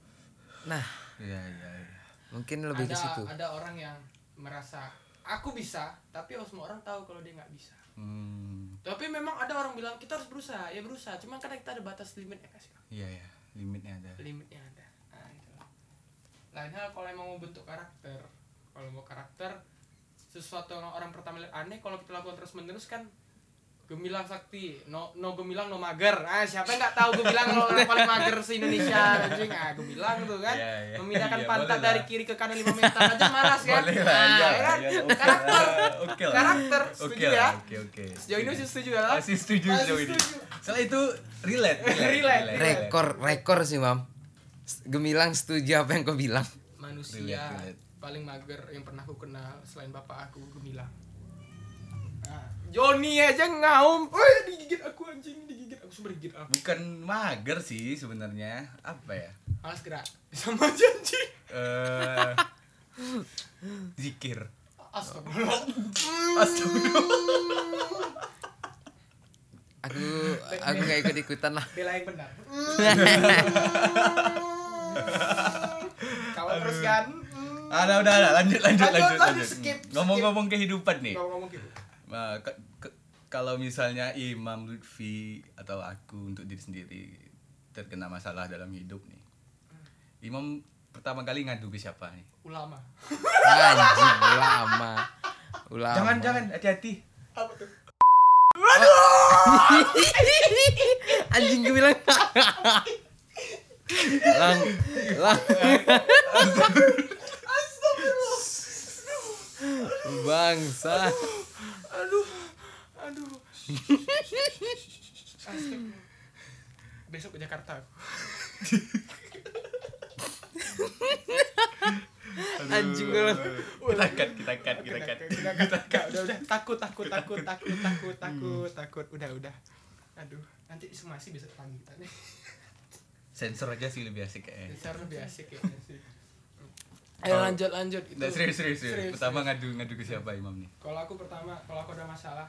S2: Nah,
S1: iya iya iya
S2: mungkin lebih
S3: ada
S2: ke situ.
S3: ada orang yang merasa aku bisa tapi harus semua orang tahu kalau dia nggak bisa
S1: Hmm,
S3: tapi memang ada orang bilang kita harus berusaha ya berusaha cuman kadang kita ada batas ya, limitnya kasih
S1: iya iya limitnya ada
S3: limitnya ada nah, itu lah. lain hal kalau emang mau bentuk karakter kalau mau karakter sesuatu yang orang pertama lihat aneh kalau kita lakukan terus menerus kan gemilang sakti no no gemilang no mager ah siapa yang nggak tahu gemilang kalau orang paling mager se Indonesia anjing ah gemilang tuh kan
S1: Iya, iya.
S3: memindahkan
S1: Iya,
S3: pantat
S1: boleh lah.
S3: dari kiri ke kanan 5 meter aja malas kan
S1: boleh lah
S3: nah,
S1: iya,
S3: ya kan?
S1: iya, oke lah,
S3: karakter
S1: oke lah.
S3: karakter
S1: oke
S3: setuju
S1: lah,
S3: ya
S1: oke oke
S3: sejauh ini masih setuju ya lah
S1: masih setuju
S3: Masih
S1: sejauh ini
S3: setuju.
S1: setelah itu relate
S3: Relate, relate.
S2: Rekor, rekor sih, Mam. S- Gemilang setuju apa yang kau bilang.
S3: manusia
S1: Relate, relate.
S3: paling mager yang pernah aku kenal selain bapak aku gemilang nah, Joni aja ngaum eh digigit aku anjing digigit aku super digigit aku
S1: bukan mager sih sebenarnya apa ya
S3: malas gerak sama aja anjing
S1: eh zikir
S3: astagfirullah
S2: aku aku nggak ikut ikutan lah
S3: bela yang benar kan?
S1: Ah, udah, udah, udah, lanjut, lanjut,
S3: Lanjut,
S1: lanjut,
S3: lanjut,
S1: lanjut.
S3: skip, skip.
S1: Ngomong-ngomong kehidupan nih.
S3: Kalau ngomong gitu.
S1: Nah, ke- ke- kalau misalnya Imam Lutfi atau aku untuk diri sendiri terkena masalah dalam hidup nih. Imam pertama kali ngadu ke siapa nih?
S3: Ulama.
S2: Anjing ulama. Ulama.
S1: Jangan, jangan, hati-hati.
S3: Apa tuh?
S2: Anjing gue bilang. lang lang. Bangsa.
S3: Aduh. Aduh. Astagfirullah. Besok ke Jakarta.
S2: Anjing gue. bilang.
S1: Kita cut, kita cut, Kan, kita kan. Hmm. cut.
S3: Udah, udah, kan. udah, udah, udah. takut takut takut takut takut takut takut udah udah aduh nanti semasi bisa panggil kita nih
S1: Sensor aja sih lebih asik kayaknya.
S3: Dasar lebih asik kayaknya sih ayo
S1: Eh. Kalau-
S3: lanjut lanjut itu
S1: Nggak, Nah, serius, serius,
S3: Serius,
S1: serius. Pertama ngadu ngadu ke siapa Imam nih?
S3: kalau aku pertama kalau aku ada masalah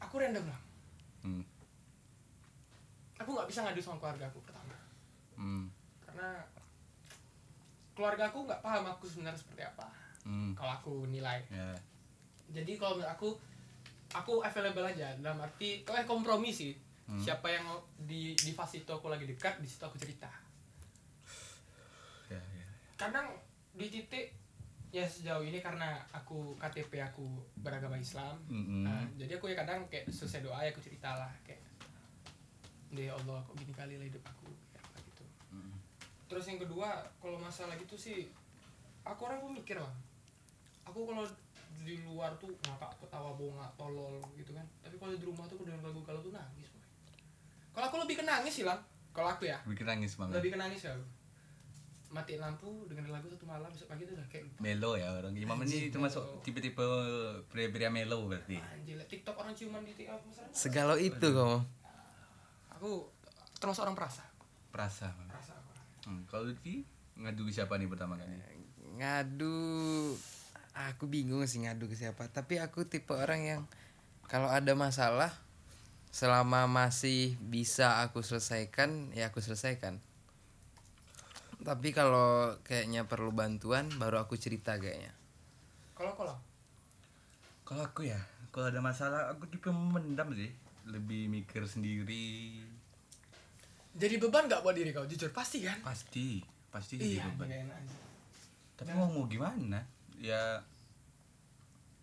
S3: aku random lah
S1: Hmm.
S3: aku nggak bisa ngadu sama keluarga aku pertama
S1: Hmm.
S3: karena keluarga aku nggak paham aku sebenarnya seperti apa
S1: Hmm.
S3: kalau aku nilai
S1: Ya.
S3: jadi kalau menurut aku aku available aja dalam arti kayak kompromi sih
S1: Hmm.
S3: siapa yang di di fase itu aku lagi dekat di situ aku cerita
S1: Ya, ya.
S3: kadang di titik ya sejauh ini karena aku KTP aku beragama Islam
S1: Mm-mm.
S3: nah, jadi aku ya kadang kayak selesai doa ya aku cerita lah kayak ya Allah kok gini kali lah hidup aku kayak apa gitu
S1: Mm.
S3: terus yang kedua kalau masalah gitu sih aku orang pemikir lah aku kalau di luar tuh ngakak ketawa bongak tolol gitu kan tapi kalau di rumah tuh aku dengan lagu kalau tuh nangis boy. kalau aku lebih ke nangis sih lang kalau aku ya
S1: Bikin nangis Imam. ya.
S3: lebih ke nangis ya aku. matiin lampu dengerin lagu satu malam besok pagi tuh udah kayak lupa
S1: Melo ya orang Imam ini termasuk tipe-tipe pria-pria melo berarti.
S3: anjir lah, tiktok orang ciuman di tiktok masalahnya
S2: Segalau itu kamu.
S3: aku termasuk orang perasa
S1: Perasa.
S3: perasa aku
S1: Hmm. Kalau Lutfi ngadu ke siapa nih pertama kali?
S3: Eh,
S2: ngadu aku bingung sih ngadu ke siapa tapi aku tipe orang yang kalau ada masalah selama masih bisa aku selesaikan ya aku selesaikan tapi kalau kayaknya perlu bantuan baru aku cerita kayaknya
S3: kalau kalau
S1: Kalau aku ya, kalau ada masalah aku tipe memendam sih, lebih mikir sendiri.
S3: jadi beban gak buat diri kau jujur pasti kan
S1: Pasti, pasti jadi
S3: iya
S1: beban.
S3: gak enak anjir.
S1: Tapi mau mau gimana? Ya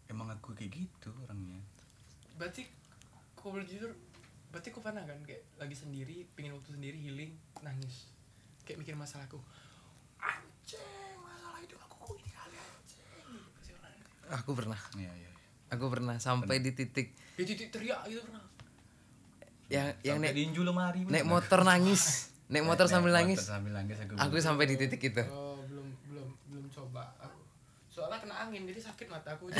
S1: emang aku kayak gitu orangnya.
S3: berarti kau boleh jujur berarti kau pernah kan kayak lagi sendiri pingin waktu sendiri healing nangis kayak mikir masalahku anjing masalah hidup aku kok ini kali anjing Gitu pasti orang.
S2: aku pernah
S1: Iya, iya.
S2: aku pernah sampai di titik
S3: di titik teriak gitu pernah
S2: yang yang
S1: Sampai
S2: naik
S1: diinju lemari.
S2: naik
S1: bener.
S2: motor nangis naik motor
S1: Naik-
S2: sambil
S1: naik
S2: nangis
S1: motor sambil nangis aku.
S2: aku sampai di titik itu
S3: Oh, belum belum belum coba aku. Soalnya kena angin jadi sakit mata aku.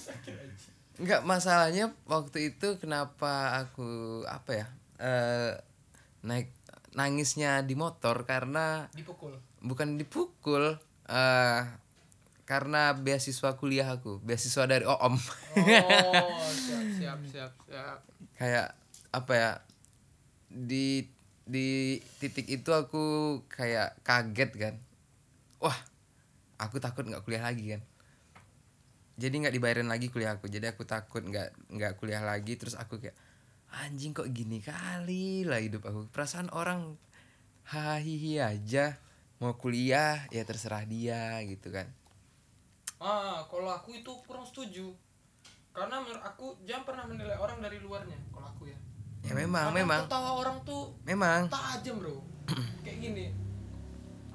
S3: sakit aja.
S2: Enggak masalahnya waktu itu kenapa aku apa ya eh, naik nangisnya di motor karena
S3: Dipukul.
S2: bukan dipukul eh karena beasiswa kuliah aku beasiswa dari OOM
S3: Oh, siap siap siap siap.
S2: kayak apa ya di di titik itu aku kayak kaget kan wah aku takut nggak kuliah lagi kan jadi nggak dibayarin lagi kuliah aku jadi aku takut nggak nggak kuliah lagi terus aku kayak anjing kok gini kali lah hidup aku perasaan orang hahihi aja mau kuliah ya terserah dia gitu kan
S3: Ah, kalau aku itu kurang setuju. Karena menurut aku jangan pernah menilai orang dari luarnya kalau aku ya.
S2: ya memang
S3: Karena
S2: memang
S3: Ketawa orang tuh
S2: memang
S3: tajam, Bro. Kayak gini.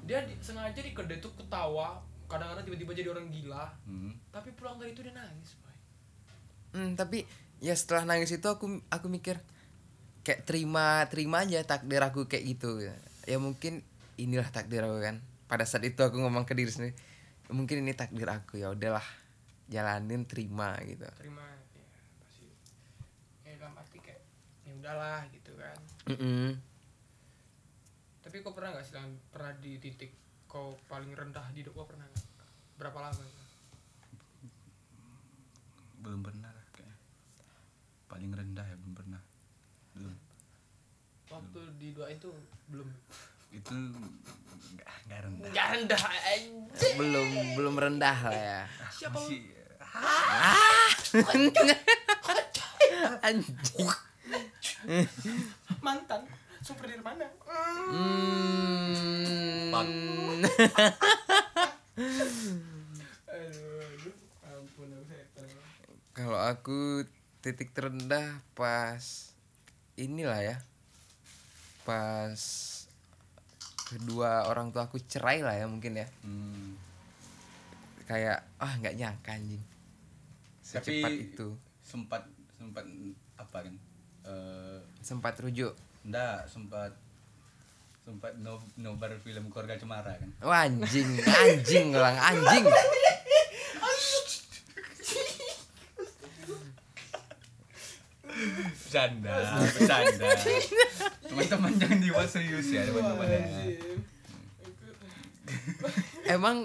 S3: Dia di- sengaja di kedai tuh ketawa, kadang-kadang tiba-tiba jadi orang gila,
S1: Hmm.
S3: tapi pulang dari itu dia nangis, boy.
S2: Hmm, tapi ya setelah nangis itu aku aku mikir kayak terima terima aja takdir aku kayak gitu ya mungkin inilah takdir aku kan pada saat itu aku ngomong ke diri sendiri "Ya mungkin ini takdir aku ya udahlah jalanin terima gitu
S3: terima ya pasti ya dalam arti kayak ya udahlah gitu kan
S2: Mm-mm.
S3: tapi kau pernah nggak sih Lan? pernah di titik kau paling rendah di hidup kau pernah nggak berapa lama
S1: belum pernah lah kayaknya. Paling rendah ya belum pernah. Belum.
S3: waktu di doa itu belum
S1: itu nggak nggak rendah
S3: Gak rendah aja.
S2: belum belum rendah lah ya
S3: Eh, Siapa lu? Ah!
S1: Masih-
S2: anjing
S3: Mantan. Super Dirmana. Mm.
S2: Hmm.
S1: Pan.
S3: Aduh, aduh. Ampun, aku setan.
S2: kalau aku titik terendah pas inilah ya pas kedua orang tua aku cerai lah ya mungkin ya
S1: Hmm.
S2: kayak ah nggak nyangka anjing secepat
S1: Tapi-
S2: itu
S1: sempat sempat apa kan Eh,
S2: sempat rujuk
S1: enggak sempat sempat no, nobar film keluarga cemara kan
S2: Wah, anjing anjing ulang anjing
S1: bercanda bercanda teman-teman jangan dibuat serius ya teman-teman ya.
S3: Wajib.
S2: emang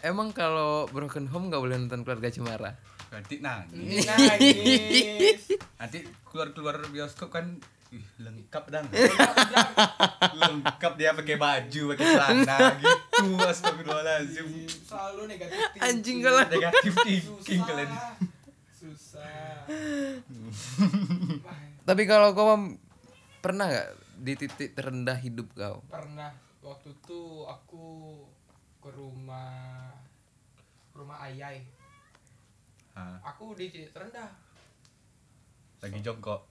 S2: emang kalau broken home nggak boleh nonton keluarga cemara
S1: berarti nangis
S2: Iya.
S3: Nangis.
S1: nanti keluar-keluar bioskop kan ih, lengkap dong lengkap dia pakai baju pakai celana gitu astagfirullahaladzim
S3: Selalu negatif. thinking.
S2: anjing kalau
S1: negatif thinking
S3: Susah.
S1: kalian
S3: Susah. Wah,
S2: tapi kalau kau Mam, pernah nggak di titik terendah hidup kau
S3: pernah waktu itu aku ke rumah ke rumah ayai.
S1: Ah,
S3: Aku di titik terendah.
S1: lagi jongkok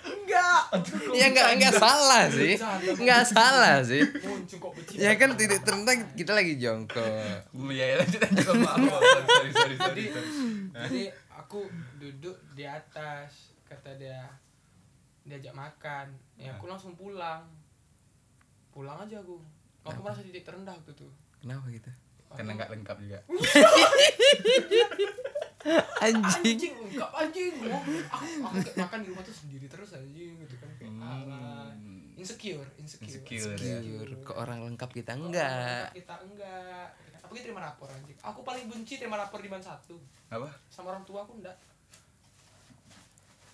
S3: Enggak.
S2: ya nggak nggak salah sih
S3: Bercanda.
S2: nggak salah sih
S3: Muncul kok becik.
S2: ya kan titik terendah kita lagi jongkok
S1: Hmm, ya ya lanjut lanjut maaf, maaf, maaf. sorry sorry sorry, sorry. Nah.
S3: Jadi aku duduk di atas kata dia diajak makan. Ya
S1: Nah.
S3: aku langsung pulang. Pulang aja aku. Aku merasa titik terendah waktu itu.
S2: kenapa gitu
S1: karena nggak lengkap juga
S2: anjing
S3: anjing ungkap anjing Gua- aku, aku kayak makan di rumah tuh sendiri terus anjing gitu kan kayak ala
S1: Hmm.
S3: insecure insecure,
S1: Insecure, ya.
S2: Jujur, ke orang lengkap kita
S3: Kalau
S2: enggak
S3: kita enggak tapi kita terima rapor anjing aku paling benci terima rapor di mana satu
S1: apa
S3: sama orang tua aku enggak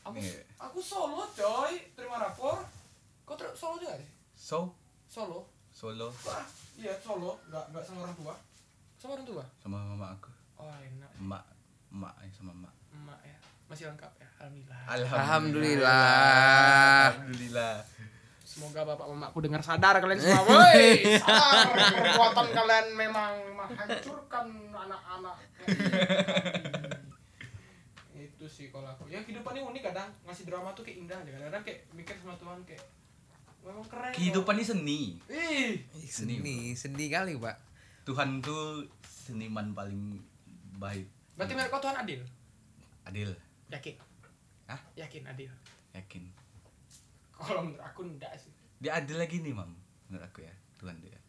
S3: aku
S1: Iya.
S3: aku solo coy terima rapor kau ter solo juga sih
S1: so
S3: solo
S1: solo
S3: Wah, iya solo enggak enggak sama orang tua sama orang tua
S1: sama mama aku
S3: oh enak
S1: emak emak eh, sama emak
S3: emak ya masih lengkap ya alhamdulillah
S2: Alhamdulillah.
S1: alhamdulillah
S3: Semoga bapak mamaku dengar sadar kalian semua. Woi, sadar perbuatan kalian memang menghancurkan anak-anak. itu sih kalau aku. Ya kehidupan ini unik kadang ngasih drama tuh kayak indah aja. Kadang-kadang kayak mikir sama Tuhan kayak memang keren.
S1: kehidupan ini seni
S3: loh. Ih,
S2: Ih, sedih sedih kali pak
S1: Tuhan tuh seniman paling baik
S3: berarti menurut kau Tuhan adil?
S1: adil
S3: Yakin?
S1: Hah?
S3: Yakin adil.
S1: yakin
S3: Kalau menurut aku enggak sih.
S1: dia adil lagi nih mam menurut aku ya Tuhan dia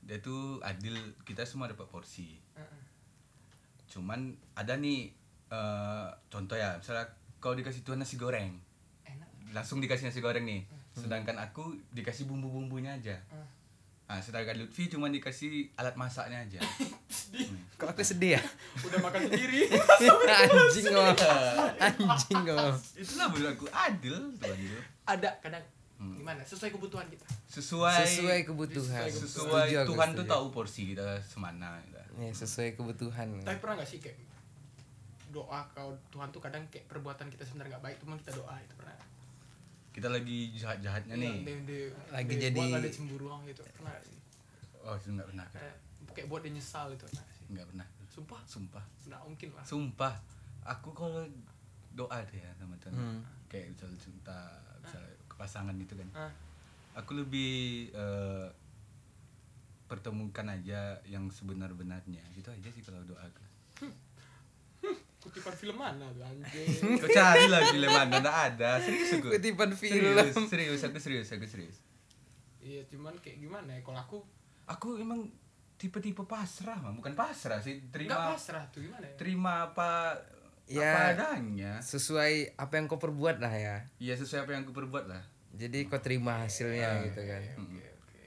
S1: dia tuh adil kita semua dapat porsi
S3: Heeh.
S1: cuman ada nih eh, contoh ya misalnya kau dikasih Tuhan nasi goreng
S3: Enak.
S1: langsung dikasih nasi goreng nih sedangkan aku dikasih bumbu-bumbunya aja
S3: Hmm.
S1: ah sedangkan Lutfi cuma dikasih alat masaknya aja
S2: kok aku sedih ya
S3: Udah makan sendiri.
S2: anjing kau anjing kau
S1: itulah menurut aku adil Tuhan itu
S3: Ada kadang
S1: Hmm.
S3: gimana? Sesuai kebutuhan kita.
S1: sesuai
S2: sesuai kebutuhan
S1: sesuai
S2: Setuju aku,
S1: Tuhan tuh
S2: setuju.
S1: tahu porsi kita semana gitu.
S2: ya sesuai kebutuhan
S1: Hmm.
S3: Tapi pernah gak sih kayak doa kau Tuhan tuh kadang kayak perbuatan kita sebenarnya nggak baik cuma kita doa itu pernah
S1: kita lagi jahat-jahatnya
S3: Iya,
S1: nih
S3: dia- dia-
S2: Lagi
S3: dia
S2: jadi-
S3: buat ada cemburuan gitu pernah gak sih
S1: oh itu nggak pernah
S3: Eh, kayak buat dia nyesal itu pernah gak sih
S1: nggak pernah
S3: sumpah
S1: sumpah
S3: nggak mungkin lah
S1: sumpah aku kalau doa deh ya sama Tuhan
S2: Hmm.
S1: kayak misalnya cinta misalnya ke pasangan gitu kan
S3: ah
S1: aku lebih eh, pertemukan aja yang sebenar-benarnya gitu aja sih kalau doa aku
S3: kutipan film mana tuh anjing
S1: kau cari lah film mana nggak ada serius aku
S2: kutipan film
S1: serius serius aku serius aku serius
S3: iya cuman kayak gimana ya kalau aku
S1: aku emang tipe-tipe pasrah Mam. bukan pasrah sih
S3: nggak
S1: terima
S3: pasrah tuh gimana ya
S1: terima apa
S2: Ya.
S1: apa adanya
S2: sesuai apa yang kau perbuat lah ya
S1: ya sesuai apa yang aku perbuat lah
S2: jadi kau terima hasilnya gitu kan
S3: oke oke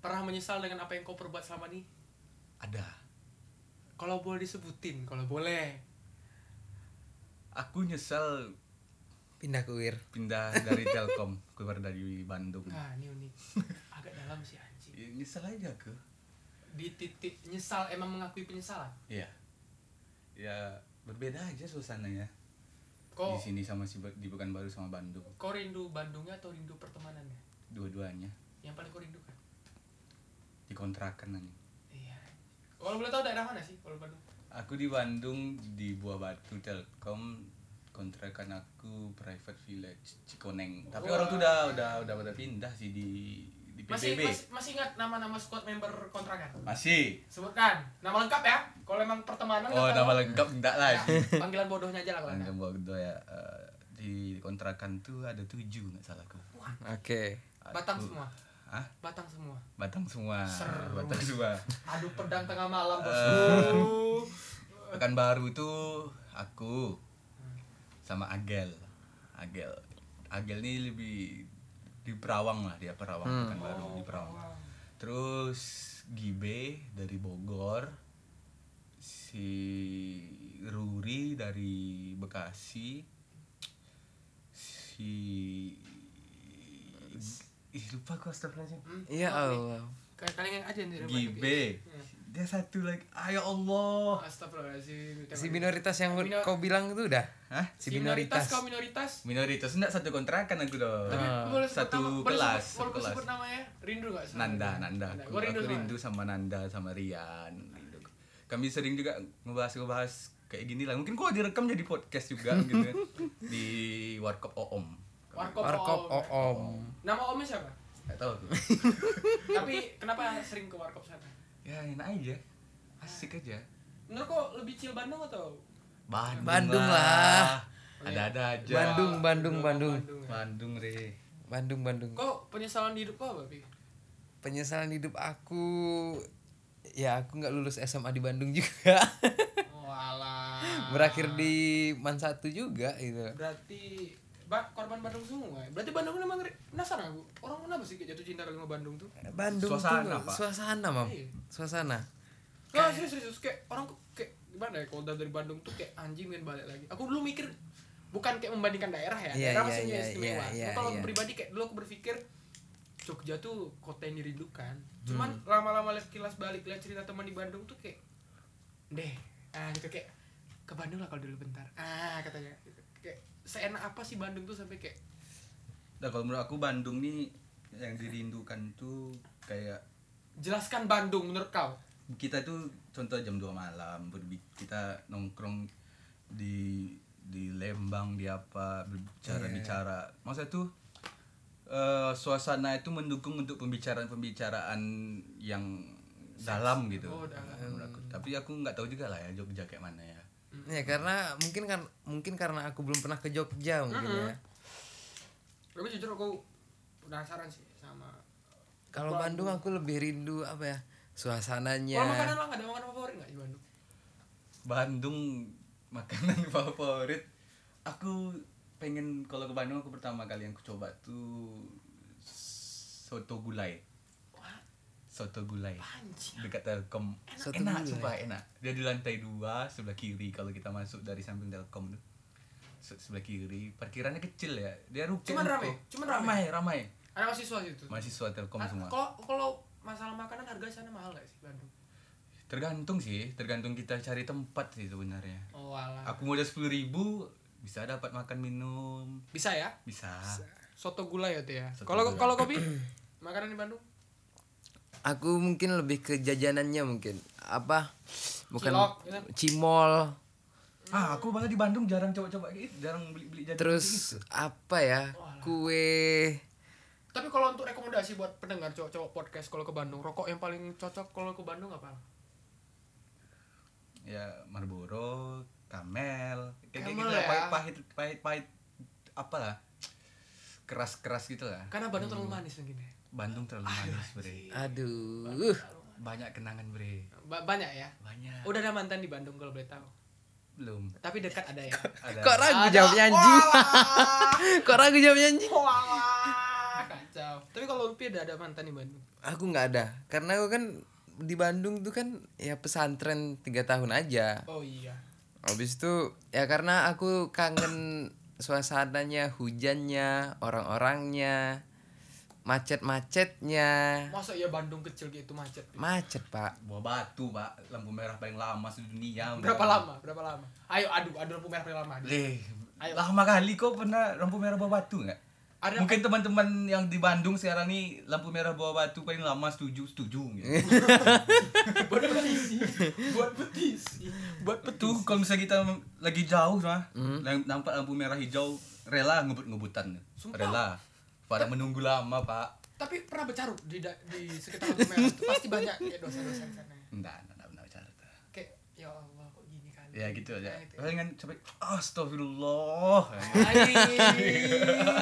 S3: pernah menyesal dengan apa yang kau perbuat selama ini
S1: ada
S3: kalau boleh disebutin kalau boleh
S1: aku nyesel
S2: pindah ke wir
S1: pindah dari Telkom keluar dari Bandung
S3: nah ini unik agak dalam sih anjing
S1: ya, nyesel aja ke
S3: di titik nyesal emang mengakui penyesalan
S1: iya ya berbeda aja suasananya di
S3: kok
S1: sini sama si di Pekanbaru sama Bandung
S3: kok rindu Bandungnya atau rindu pertemanannya
S1: dua-duanya
S3: yang paling kau rindukan
S1: dikontrakan anjing
S3: iya kalau boleh tahu daerah mana sih kalau Bandung
S1: aku di Bandung di Buah Batu Telkom kontrakan aku private village Cikoneng tapi
S3: Wah.
S1: orang tuh udah udah udah pada pindah sih di di
S3: masih,
S1: PBB
S3: masih masih ingat nama-nama squad member kontrakan
S1: masih
S3: sebutkan nama lengkap ya kalau emang pertemanan
S1: oh
S3: nggak
S1: nama
S3: perlu.
S1: lengkap enggak lah
S3: Nah, panggilan bodohnya aja lah kalau
S1: Panjang
S3: enggak
S1: Buah Gedo ya eh, di kontrakan tuh ada tujuh nggak salah aku
S2: oke
S3: batang
S1: Aku-
S3: semua
S1: Hah?
S3: batang semua
S1: Batang semua
S3: Seru.
S1: Batang semua
S3: adu pedang tengah malam bos
S1: Eh. Pekan baru itu aku sama Agel. Agel. Agel ini lebih di Perawang lah dia Perawang
S2: Hmm.
S1: Pekan baru di Perawang. Terus Gibe dari Bogor. Si Ruri dari Bekasi. Si Ih, lupa aku astagfirullahaladzim
S2: Iya Allah
S3: kalian yang ada yang tidak
S1: Gibe Dia satu lagi Ayo Allah
S3: Astagfirullahaladzim
S2: si minoritas yang
S3: Minor-
S2: kau bilang itu udah
S1: Hah?
S2: si minoritas
S3: kau minoritas
S1: Minoritas enggak satu kontrakan aku dong.
S3: Tapi boleh
S1: Eh,
S3: sebut
S1: satu
S3: nama, boleh
S1: kelas,
S3: sebut-
S1: satu
S3: boleh
S1: kelas.
S3: sebut namanya rindu nggak sama
S1: Nanda,
S3: dia?
S1: Nanda. Aku,
S3: Gua rindu,
S1: aku
S3: sama
S1: rindu sama Nanda sama Rian. Rindu. Kami sering juga ngebahas-ngebahas kayak gini lah. Mungkin kok direkam jadi podcast juga gitu kan. Di Warkop Oom.
S3: warkop,
S2: warkop oh,
S3: Om.
S2: oom
S3: nama omnya siapa
S1: Enggak tahu aku.
S3: tapi kenapa sering ke warkop sana
S1: ya enak aja. Asik aja.
S3: menurut kau lebih chill Bandung atau
S1: Bandung,
S2: Bandung
S1: Ada-ada aja.
S2: Ya. Bandung, Bandung, Bandung.
S1: Bandung, Re.
S2: Bandung Bandung
S3: Kok penyesalan di hidup ya. kau apa, Pi?
S2: penyesalan hidup aku ya aku nggak lulus SMA di Bandung juga
S3: Oh, Walah.
S2: berakhir di Man satu juga gitu
S3: Berarti ba korban Bandung semua. ya? Berarti Bandung memang ngeri- penasaran aku. Orang kenapa sih kayak jatuh cinta kali sama Bandung tuh?
S2: Bandung
S1: Suasana,
S2: tuh
S1: Pak.
S2: suasana mam
S3: Iya.
S2: suasana
S3: Nah, serius, serius. Kayak orang kok- kayak gimana ya kalau udah dari Bandung tuh kayak anjing pengen balik lagi. Aku dulu mikir bukan kayak membandingkan daerah ya.
S2: Iya,
S3: daerah
S2: iya,
S3: masih
S2: iya,
S3: istimewa.
S2: iya,
S3: Cuma kalau
S2: iya.
S3: aku pribadi kayak dulu aku berpikir Jogja tuh kota yang dirindukan.
S2: Hmm.
S3: Cuman lama-lama lihat kilas balik lihat cerita teman di Bandung tuh kayak deh, ah gitu kayak ke Bandung lah kalau dulu bentar. Ah katanya. Gitu. Kayak seenak apa sih Bandung tuh sampai kayak
S1: Nah, kalau menurut aku Bandung nih yang dirindukan tuh kayak
S3: jelaskan Bandung menurut kau.
S1: kita tuh contoh jam 2 malam berbi- kita nongkrong di di Lembang di apa
S3: Iya.
S1: berbicara-bicara. Maksudnya tuh eh, suasana itu mendukung untuk pembicaraan-pembicaraan yang dalam gitu.
S3: Oh, dalam.
S1: Menurut aku. Tapi aku nggak tahu juga lah ya Jogja kayak mana ya.
S2: ya karena mungkin kan mungkin karena aku belum pernah ke Jogja mungkin ya
S3: Tapi jujur aku penasaran sih sama
S2: kalau Bandung aku lebih rindu apa ya suasananya
S3: Kalau makanan lah nggak ada makanan favorit nggak di Bandung?
S1: Bandung makanan favorit aku pengen kalau ke Bandung aku pertama kali yang aku coba tuh soto gulai
S3: Wah,
S1: soto gulai
S3: anjing.
S1: dekat Telkom
S2: Soto
S1: enak
S2: gulai.
S1: sumpah enak dia di lantai dua sebelah kiri kalau kita masuk dari samping Telkom tuh Se- sebelah kiri parkirannya kecil ya dia ruko
S3: Cuman
S1: ruko.
S3: ramai? Cuman ramai?
S1: ramai
S3: Ada mahasiswa situ.
S1: mahasiswa Telkom
S3: Ah,
S1: semua
S3: Kalau kalau masalah makanan harga di sana mahal nggak sih Bandung?
S1: tergantung sih tergantung kita cari tempat sih sebenarnya
S3: Oh alah.
S1: aku modal sepuluh ribu bisa dapat makan minum
S3: Bisa ya?
S1: bisa
S3: Soto gulai ya tuh ya.
S1: Soto
S3: Kalau
S1: gulai.
S3: kalau kopi makanan di Bandung?
S2: aku mungkin lebih ke jajanannya mungkin apa bukan
S3: Cilok, gitu.
S2: cimol
S1: ah aku malah di Bandung jarang coba-coba gitu jarang beli-beli
S3: Iya.
S1: gitu. jajan
S2: terus apa ya kue
S3: Tapi kalau untuk rekomendasi buat pendengar cowok-cowok podcast kalau ke Bandung, rokok yang paling cocok kalau ke Bandung apa?
S1: ya Marlboro Camel kayak kayak
S3: Camel
S1: gitu lah
S3: ya.
S1: pahit pahit pahit pahit apalah keras keras gitu lah
S3: Karena Bandung terlalu manis mungkin ya.
S1: Bandung terlalu manis bre
S2: aduh
S1: banyak kenangan bre
S3: Ba- banyak ya.
S1: banyak
S3: Udah ada mantan di Bandung kalau boleh tahu.
S1: belum
S3: Tapi dekat ada ya.
S1: ada
S2: kok ragu
S3: Ada.
S2: jawabnya anjing
S3: Walah.
S2: kok ragu jawabnya anjing
S3: Walah, Ah, kacau. Tapi kalau Lupi ada ada mantan di Bandung.
S2: aku nggak ada karena aku kan di Bandung tuh kan ya pesantren tiga tahun aja
S3: Oh iya.
S2: habis itu ya karena aku kangen suasananya, hujannya, orang-orangnya, macet-macetnya.
S3: Masa ya Bandung kecil gitu macet?
S2: Macet, Pak.
S1: Buah batu pak, lampu merah paling lama sedunia.
S3: Berapa lama? Berapa lama? Ayo adu, adu lampu merah paling lama. adu.
S1: Eh,
S3: Ayo.
S1: lama kali kok pernah lampu merah buah batu nggak?
S3: Ada
S1: Mungkin teman-teman yang di Bandung sekarang nih lampu merah buah batu paling lama setuju setuju. Gitu.
S3: buat petisi, buat petisi, buat
S1: Tuh
S3: petisi.
S1: kalau misalnya kita lagi jauh lah,
S3: Hmm.
S1: lang- nampak lampu merah hijau rela ngebut-ngebutan.
S3: Sumpah.
S1: Rela. Pada menunggu lama pak.
S3: Tapi pernah bercarut di da- di sekitar lampu merah itu pasti banyak ya dosa-dosa di sana.
S1: Enggak, enggak, enggak benar bicara tuh.
S3: Kayak ya Allah kok gini kali.
S1: Ya gitu aja.
S3: Nah, itu.
S1: Palingan sampai astagfirullah.
S3: Astaga.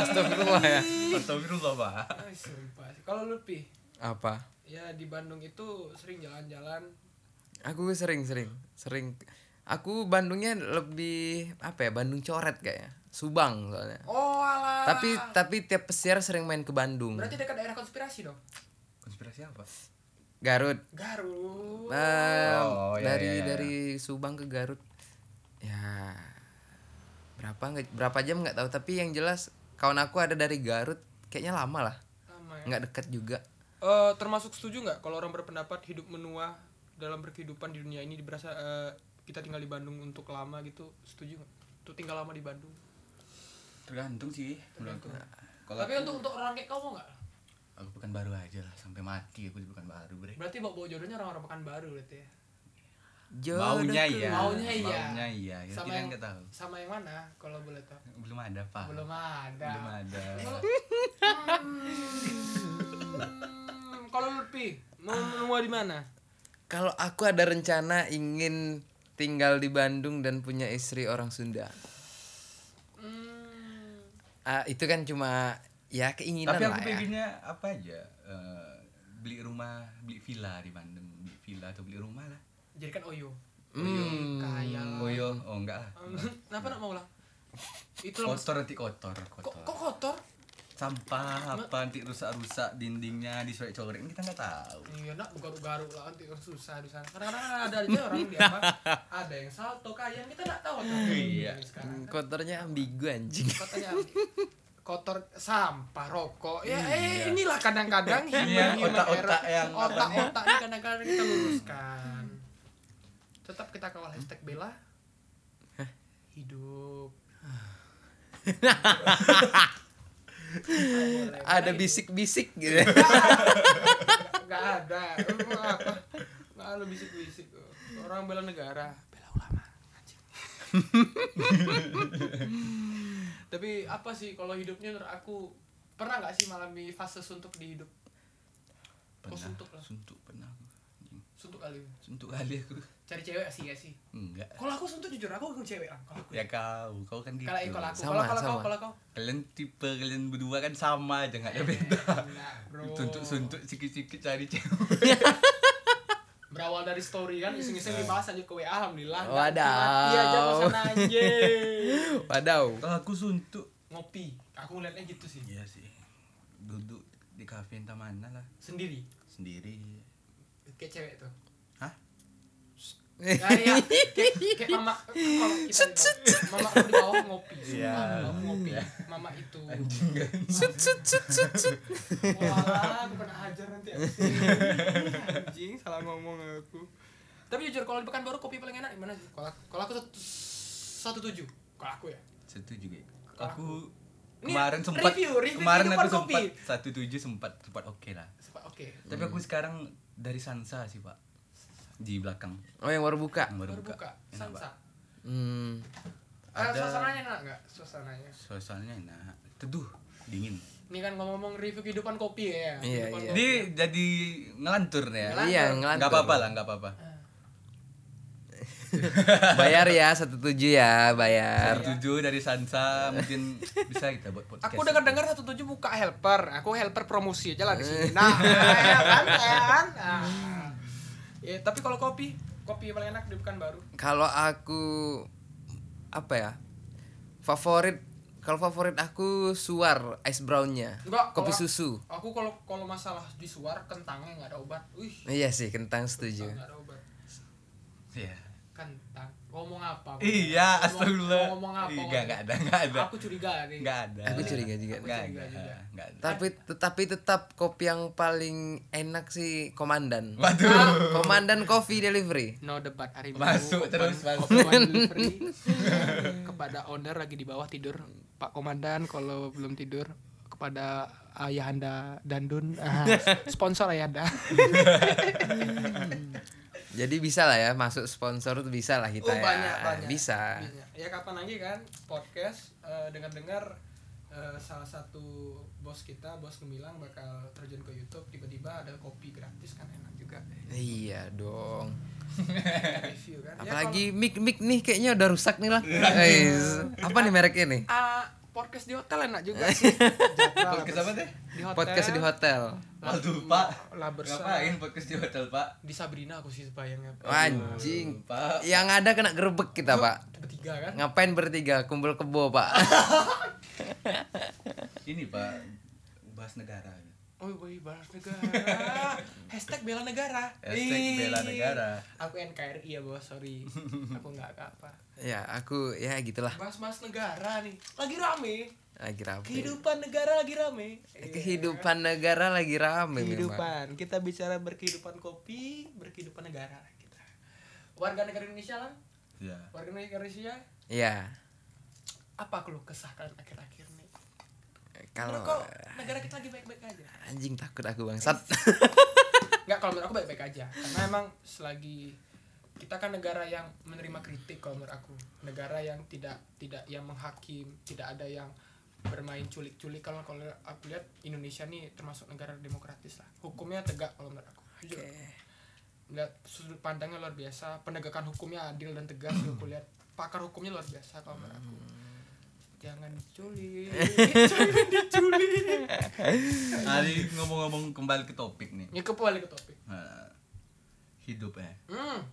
S2: Astagfirullah ya.
S1: astagfirullah pak.
S3: Sumpah. Kalau lu pi,
S2: Apa?
S3: ya di Bandung itu sering jalan-jalan.
S2: Aku sering-sering, sering. Aku Bandungnya lebih apa ya? Bandung coret kayaknya. Subang soalnya.
S3: Oh alah.
S2: Tapi tapi tiap pesiar sering main ke Bandung.
S3: berarti dekat daerah konspirasi dong.
S1: Konspirasi apa?
S2: Garut.
S3: Garut.
S2: Em,
S1: Oh, iya,
S2: dari
S1: iya, iya.
S2: dari Subang ke Garut. Ya. Berapa nggak berapa jam nggak tahu, tapi yang jelas kawan aku ada dari Garut kayaknya lama lah.
S3: Lama ya.
S2: Nggak dekat juga.
S3: Eh, termasuk setuju nggak kalau orang berpendapat hidup menua dalam berkehidupan di dunia ini berasa eh, kita tinggal di Bandung untuk lama gitu setuju nggak? Untuk tinggal lama di Bandung.
S1: Tergantung sih menurutku. Kalau
S3: Tapi untuk untuk orang kayak kamu nggak?
S1: aku bukan baru aja lah sampai mati aku di bukan baru bre.
S3: Berarti bawa bawa jodohnya orang-orang pekan baru berarti ya.
S1: Maunya
S2: Jodohku.
S1: iya.
S3: Maunya iya.
S1: Maunya iya. Ya, kita
S3: yang
S1: nggak tahu.
S3: Sama yang mana kalau boleh tahu?
S1: Belum ada pak.
S3: Belum ada.
S1: Ah, Belum ada.
S3: Hmm, kalau Lutfi mau menua di mana?
S2: Kalau aku ada rencana ingin tinggal di Bandung dan punya istri orang Sunda.
S3: Hmm,
S2: Ah, itu kan cuma ya keinginan
S1: Tapi
S2: lah
S1: aku
S2: ya.
S1: pengennya apa aja? eh, beli rumah, beli villa di Bandung, beli villa atau beli rumah lah.
S3: jadikan Oyo.
S2: Hmm.
S3: Kaya.
S1: Koyo, oh enggak lah.
S3: Hmm, Kenapa nak mau lah? Itu lah.
S1: Kotor nanti kotor,
S3: Kok,
S1: kotor.
S3: kok kotor?
S1: Sampah apa nanti rusak-rusak dindingnya disorek-coret kita nggak tahu.
S3: Iya nak garuk-garuk lah nanti orang susah di sana. Kadang-kadang kan ada aja orang di apa? Ada yang salto kayaan kita nggak tahu tuh.
S1: Iya.
S3: Sekarang kan
S2: Kotornya ambigu anjing.
S3: kotanya ambil. kotor sampah rokok ya eh inilah kadang-kadang human
S1: Iya.
S3: human
S1: otak-otak
S3: error.
S1: yang
S3: otak-otak ini kadang-kadang kita luruskan tetap kita kawal hashtag bela hidup Boleh.
S2: Ada bisik-bisik gitu.
S3: nggak ada Lu apa nggak lu bisik-bisik orang bela negara bela ulama Anjing. tapi apa sih kalau hidupnya menurut aku pernah nggak sih mengalami fase suntuk di hidup
S1: Pernah,
S3: suntuk lah.
S1: suntuk pernah aku. Anjing,
S3: suntuk kali ini?
S1: Suntuk kali aku.
S3: cari cewek sih ya sih
S1: Enggak.
S3: kalau aku suntuk jujur aku bukan cewek lah kalau aku
S1: Ya kau, kau kan gitu.
S3: kalau eh, kalau aku kalau
S2: Sama,
S3: kalau kau
S2: sama.
S3: kalau kau
S1: Kalian tipe kalian berdua kan sama aja nggak ada beda.
S3: Nah, bro.
S1: Suntuk-suntuk sikit-sikit cari cewek.
S3: berawal dari story kan iseng-iseng
S1: Nah.
S3: dibahas aja ke WA alhamdulillah
S2: Wadaw.
S3: iya aja pesan anjing
S2: Wadaw.
S1: Kalau aku suntuk
S3: ngopi aku ngeliatnya gitu sih
S1: Iya sih. Duduk di kafe entah mana lah
S3: sendiri
S1: sendiri.
S3: kayak cewek tuh
S1: Hah?
S3: Ya, ya. Kayak, kayak mama kalau kita di bawah- mama aku di bawah ngopi
S1: Iya.
S3: sumpah mama aku ngopi mama itu
S1: Anjing kan.
S2: Sut sut sut sut sut.
S3: wah aku pernah hajar nanti abis ini. anjing salah ngomong aku tapi jujur kalau di Pekanbaru kopi paling enak di mana sih kalau aku- kalau aku satu, satu tujuh kalau aku ya
S1: Satu juga.
S3: Kalau
S1: Aku
S3: Ini
S1: kemarin sempat
S3: review, review
S1: kemarin
S3: kehidupan
S1: aku sempat
S3: kopi.
S1: satu tujuh sempat sempat oke lah.
S3: Sumpah, oke
S1: Tapi
S3: Hmm.
S1: aku sekarang dari Sansa sih pak di belakang
S2: Oh yang baru buka.
S1: yang baru
S3: baru
S1: buka.
S3: buka sansa
S2: Hmm.
S3: Eh,
S1: Ada-
S3: suasananya enak nggak suasananya
S1: Suasananya enak, teduh, dingin.
S3: ini kan ngomong review kehidupan kopi ya
S2: Iya,
S3: Kehidupan
S2: iya.
S3: kopi.
S1: Ini jadi ngelantur nih ya.
S3: Ngelantur.
S2: Iya, ngelantur.
S1: Nggak apa-apa lah, nggak apa-apa.
S3: Ah.
S2: Bayar ya 17 ya, bayar.
S1: Satu tujuh dari Sansa mungkin bisa kita buat podcast.
S3: Aku dengar dengar satu tujuh buka helper. Aku helper promosi aja lah
S1: Eh.
S3: di sini. Nah, ya kan, ya kan. Nah.
S1: Hmm.
S3: Ya, tapi kalau kopi, kopi yang paling enak di Pekanbaru.
S2: Kalau aku apa ya? Favorit kalau favorit aku suar ice brownnya
S3: Enggak,
S2: kopi
S3: kalau-
S2: susu
S3: Aku kalau kalau masalah di suar kentangnya nggak ada obat. Wih,
S2: iya sih kentang setuju
S3: nggak ada obat.
S1: Iya.
S3: kentang ngomong apa gua.
S1: Iya,
S3: Ngomong-
S1: astagfirullah.
S3: mau ngomong apa,
S1: Ih,
S3: ngomong.
S1: nggak nggak ada, nggak ada.
S3: aku curiga nih
S1: Nggak ada.
S2: Aku curiga juga.
S1: Nggak
S3: Aku curiga
S1: ada.
S3: juga.
S1: nggak ada.
S2: tapi tetapi tetap kopi yang paling enak sih komandan
S1: Waduh.
S2: komandan coffee delivery
S3: no debat hari
S1: Masuk
S3: Minggu,
S1: terus,
S3: open-
S1: masuk.
S3: open delivery. kepada owner lagi di bawah tidur Pak Komandan kalau belum tidur kepada ayahanda Dandun Ah, sponsor ayahanda
S2: jadi bisa lah ya masuk sponsor tuh bisa lah kita
S3: Oh,
S2: ya
S3: banyak, banyak.
S2: bisa
S3: Iya. ya kapan lagi kan podcast eh, dengar-dengar eh, salah satu bos kita bos gemilang bakal terjun ke YouTube tiba-tiba ada kopi gratis kan enak juga
S2: iya dong
S3: Ada review kan Ya,
S2: apalagi mic mic nih kayaknya udah rusak nih lah Guys, apa nih mereknya nih
S3: kalau, ah, podcast di hotel enak juga sih Jadwal
S1: Podcast apa teh?
S3: di hotel
S2: podcast di hotel
S1: Waduh, Pak.
S3: Labersa.
S1: Ngapain podcast di hotel, Pak?
S3: di Sabrina aku sih bayangnya
S2: anjing
S1: Pak.
S2: yang ada kena gerbek kita pak
S3: bertiga kan
S2: ngapain bertiga kumpul kebo pak
S1: Ini, Pak. Bahas negara.
S3: oh boy bela negara hashtag bela negara
S1: Hashtag
S3: Ih.
S1: bela negara.
S3: aku NKRI ya bos sorry aku nggak apa
S2: ya aku ya gitulah
S3: bahas-bahas negara nih lagi rame
S2: lagi rapi
S3: kehidupan negara lagi rame Eh,
S2: kehidupan negara lagi rame memang.
S3: kehidupan kita bicara berkehidupan kopi berkehidupan negara kita warga negara Indonesia lah
S1: Ya.
S3: warga negara Indonesia
S2: ya
S3: apa keluh kesah kalian akhir-akhir nih
S2: kalau
S3: Menurut kok negara kita lagi baik-baik aja
S2: anjing takut aku bangsat
S3: Nggak, kalau menurut aku baik-baik aja. Karena emang selagi kita kan negara yang menerima kritik kalau menurut aku. Negara yang tidak tidak yang menghakim, tidak ada yang bermain culik-culik kalau kalau aku lihat Indonesia nih termasuk negara demokratis lah. Hukumnya tegak kalau menurut aku. Jujur. Lihat sudut pandangnya luar biasa, penegakan hukumnya adil dan tegas aku lihat. Pakar hukumnya luar biasa kalau menurut aku. Jangan diculik, jangan diculik.
S1: Hari ngomong-ngomong kembali ke topik nih.
S3: Ya kembali ke topik.
S1: Nah, hidup ya.
S3: Hmm.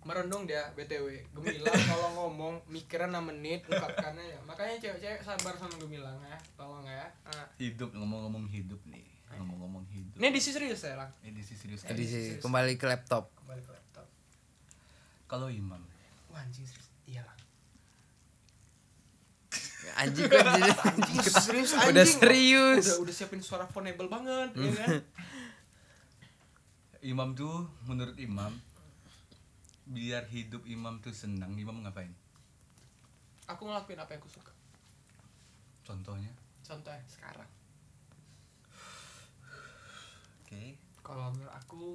S3: Merendung dia BTW. Gemilang kalau ngomong mikirnya 6 menit ungkapkannya ya. Makanya cewek-cewek sabar sama Gemilang ya. Tolong ya. Nah.
S1: Hidup ngomong-ngomong hidup nih. Ngomong-ngomong hidup.
S3: Ini edisi serius ya, Lang.
S1: Edisi serius. eh.
S2: Jadi sih, kembali ke laptop
S3: Kembali ke laptop.
S1: Kalau Imam.
S3: Wah, anjing serius. Iya, Lang.
S2: anjing kok jadi
S3: serius
S2: udah serius
S3: Udah, udah siapin suara fonable banget, ya kan?
S1: Imam tuh menurut Imam biar hidup Imam tuh senang, Imam ngapain?
S3: Aku ngelakuin apa yang aku suka.
S1: Contohnya.
S3: Contohnya sekarang.
S1: Oke.
S3: kalau menurut aku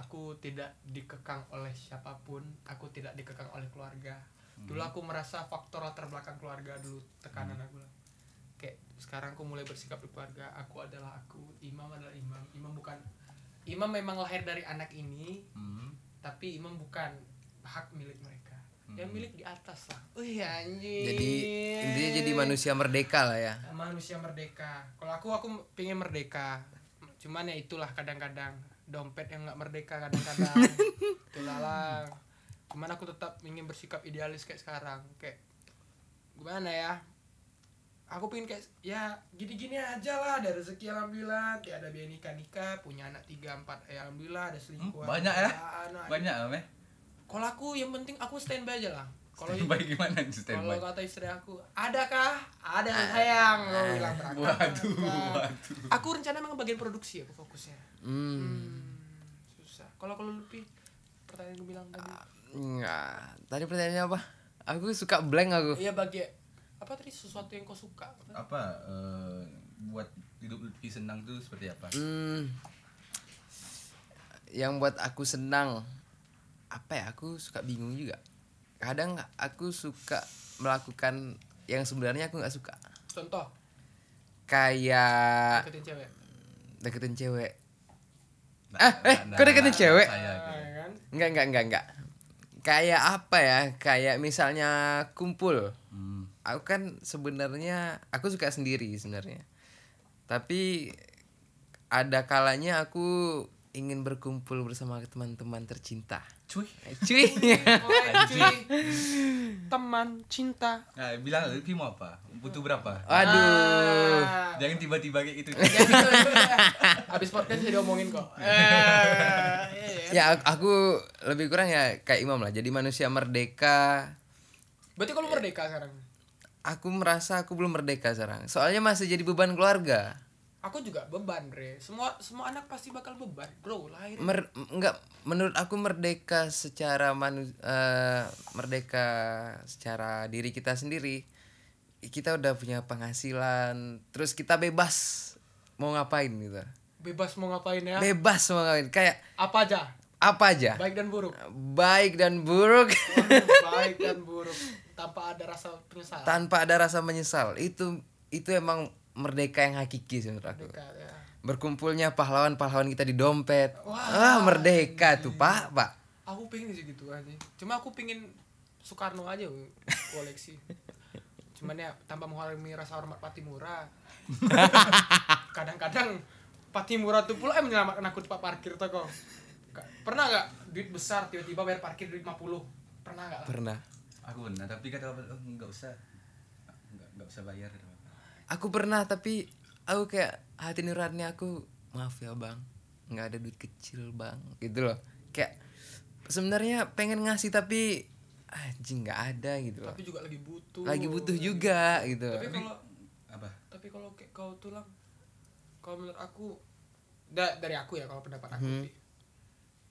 S3: aku tidak dikekang oleh siapapun aku tidak dikekang oleh keluarga
S1: Hmm.
S2: Hmm.
S3: dulu aku merasa faktor latar belakang keluarga dulu tekanan aku lah kayak sekarang aku mulai bersikap di keluarga aku adalah aku imam adalah imam imam bukan imam memang lahir dari anak ini
S1: Hmm.
S3: tapi imam bukan hak milik mereka yang
S1: Hmm.
S3: milik di atas lah Wih anjing
S2: jadi intinya jadi manusia merdeka lah ya
S3: manusia merdeka kalau aku aku pengen merdeka cuman ya itulah kadang-kadang dompet yang nggak merdeka kadang-kadang itulah lang. cuman aku tetap ingin bersikap idealis kayak sekarang kayak gimana ya aku pengen kayak ya gini-gini aja lah ada rezeki alhamdulillah ya ada biaya nikah nikah punya anak tiga empat ya alhamdulillah ada selingkuhan
S1: banyak ya?
S3: anak.
S1: Banyak eh. apa?
S3: kalau aku yang penting aku standby aja lah kalau
S1: Standby gimana nih
S3: kalau
S1: standby?
S3: kata istri aku, adakah? Ada sayang. Aku bilang Kan.
S1: Waduh,
S3: berangkat. Berangkat.
S1: waduh.
S3: Ah. Aku rencana memang bagian produksi aku fokusnya.
S2: hmm.
S3: Hmm, susah. Kalau kalau lebih pertanyaan gue bilang tadi.
S2: Nggak. tadi pertanyaannya apa aku suka blank aku
S3: Iya bagi apa tadi sesuatu yang kau suka?
S1: Apa eh, buat hidup Lutfi senang tuh seperti apa?
S2: Hmm. Yang buat aku senang apa ya? Aku suka bingung juga. Kadang aku suka melakukan yang sebenarnya aku nggak suka.
S3: Contoh,
S1: Ah.
S2: Kayak
S3: deketin cewek.
S2: deketin cewek.
S1: Nah,
S2: Ah, eh,
S1: nah,
S2: kok deketin
S1: nah,
S2: cewek?
S1: Saya
S3: Ah,
S1: gitu.
S3: ya kan?
S2: Enggak, enggak, enggak, enggak. Kayak apa ya? Kayak misalnya kumpul.
S1: Hmm.
S2: Aku kan sebenarnya aku suka sendiri sebenarnya. Tapi ada kalanya aku ingin berkumpul bersama teman-teman tercinta. Eh,
S1: cuy
S2: cuy
S3: Mulai cuy teman cinta
S1: nah ah, bilang lebih mau apa butuh berapa
S2: Ah. aduh
S3: Ah.
S1: jangan tiba-tiba kayak gitu
S3: Abis podcast jadi omongin kok. Eh, iya, iya.
S2: ya aku- aku lebih kurang ya kayak Imam lah jadi manusia merdeka
S3: Berarti kalau merdeka sekarang.
S2: aku merasa aku belum merdeka sekarang soalnya masih jadi beban keluarga
S3: Aku juga beban, Bre. Semua semua anak pasti bakal beban, Bro. Lahir.
S2: Mer enggak menurut aku merdeka secara manu eh, merdeka secara diri kita sendiri kita udah punya penghasilan terus kita bebas mau ngapain gitu
S3: Bebas mau ngapain ya?
S2: bebas mau ngapain kayak
S3: Apa aja?
S2: apa aja
S3: Baik dan buruk.
S2: baik dan buruk
S3: Baik dan buruk tanpa ada rasa penyesalan.
S2: tanpa ada rasa menyesal itu itu emang merdeka yang hakiki sih menurut aku
S3: Merdeka, ya.
S2: berkumpulnya pahlawan-pahlawan kita di dompet ah merdeka tuh pak pak
S3: Aku pengen sih gitu aja. Cuma aku pengen Soekarno aja we, koleksi. Cuman ya tanpa menghormati rasa hormat Patimura. Kadang-kadang Patimura tuh pula yang menyelamatkan aku di tempat parkir tuh kok. Ka- Pernah nggak duit besar tiba-tiba bayar parkir duit 50? Pernah nggak? lah?
S2: pernah
S1: aku pernah tapi kata bapak, oh, nggak usah nggak nggak usah bayar kata bapak.
S2: aku pernah tapi aku kayak hati nurani aku maaf ya bang nggak ada duit kecil bang gitu loh kayak sebenarnya pengen ngasih tapi anjing nggak ada gitu loh
S3: Tapi juga lagi butuh.
S2: lagi butuh juga gitu
S3: Tapi kalau
S1: apa
S3: tapi kalau kayak kau tulang kalau menurut aku da- dari aku ya kalau pendapat aku Pi.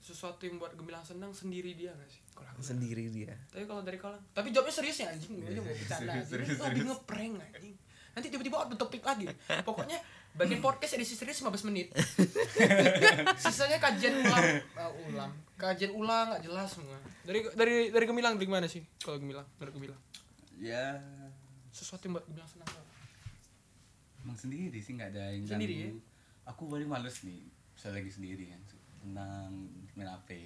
S3: sesuatu yang buat gemilang senang sendiri dia gak sih kalau aku
S2: sendiri dia
S3: tapi kalau dari kau Lang. tapi jawabnya serius ya anjing gue juga mau bercanda
S1: serius,
S3: anjing
S1: serius,
S3: Ini lebih ngeprank anjing nanti tiba-tiba ada topik lagi pokoknya bagian podcast edisi serius 15 menit sisanya kajian ulang Ah, ulang kajian ulang nggak jelas semua dari dari dari gemilang dari mana sih kalau gemilang menurut gemilang
S1: ya
S3: sesuatu yang buat gemilang senang Lang.
S1: emang sendiri sih nggak ada yang
S3: Sendiri,
S1: ganggu. aku paling males nih saya lagi sendiri kan tenang main HP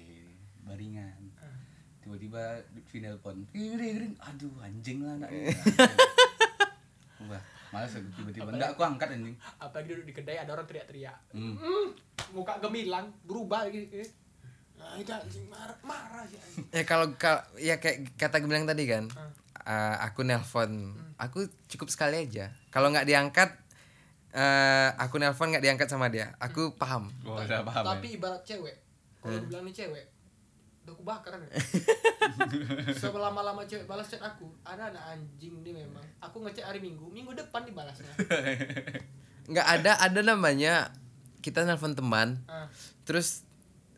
S1: baringan tiba-tiba final pon aduh anjing lah anak ini Wah, males aku tiba-tiba
S3: ya?
S1: enggak aku angkat anjing
S3: apalagi duduk di kedai ada orang teriak-teriak
S1: Hmm.
S3: Hmm, muka gemilang berubah gitu nah itu anjing marah marah sih anjing
S2: ya kalau kalau- ya kayak kata gue bilang tadi kan
S3: Hmm.
S2: eh, aku nelpon aku cukup sekali aja kalau nggak diangkat eh, aku nelpon nggak diangkat sama dia
S3: Hmm.
S2: aku paham
S1: Wah, udah paham ya? Hmm.
S3: tapi ibarat cewek kalau gue bilang nih cewek udah aku bakar kan selama lama cewek balas chat aku ada anak anjing dia memang aku ngecek hari minggu minggu depan dibalasnya
S2: nggak ada ada namanya kita nelpon teman
S3: Ah,
S2: terus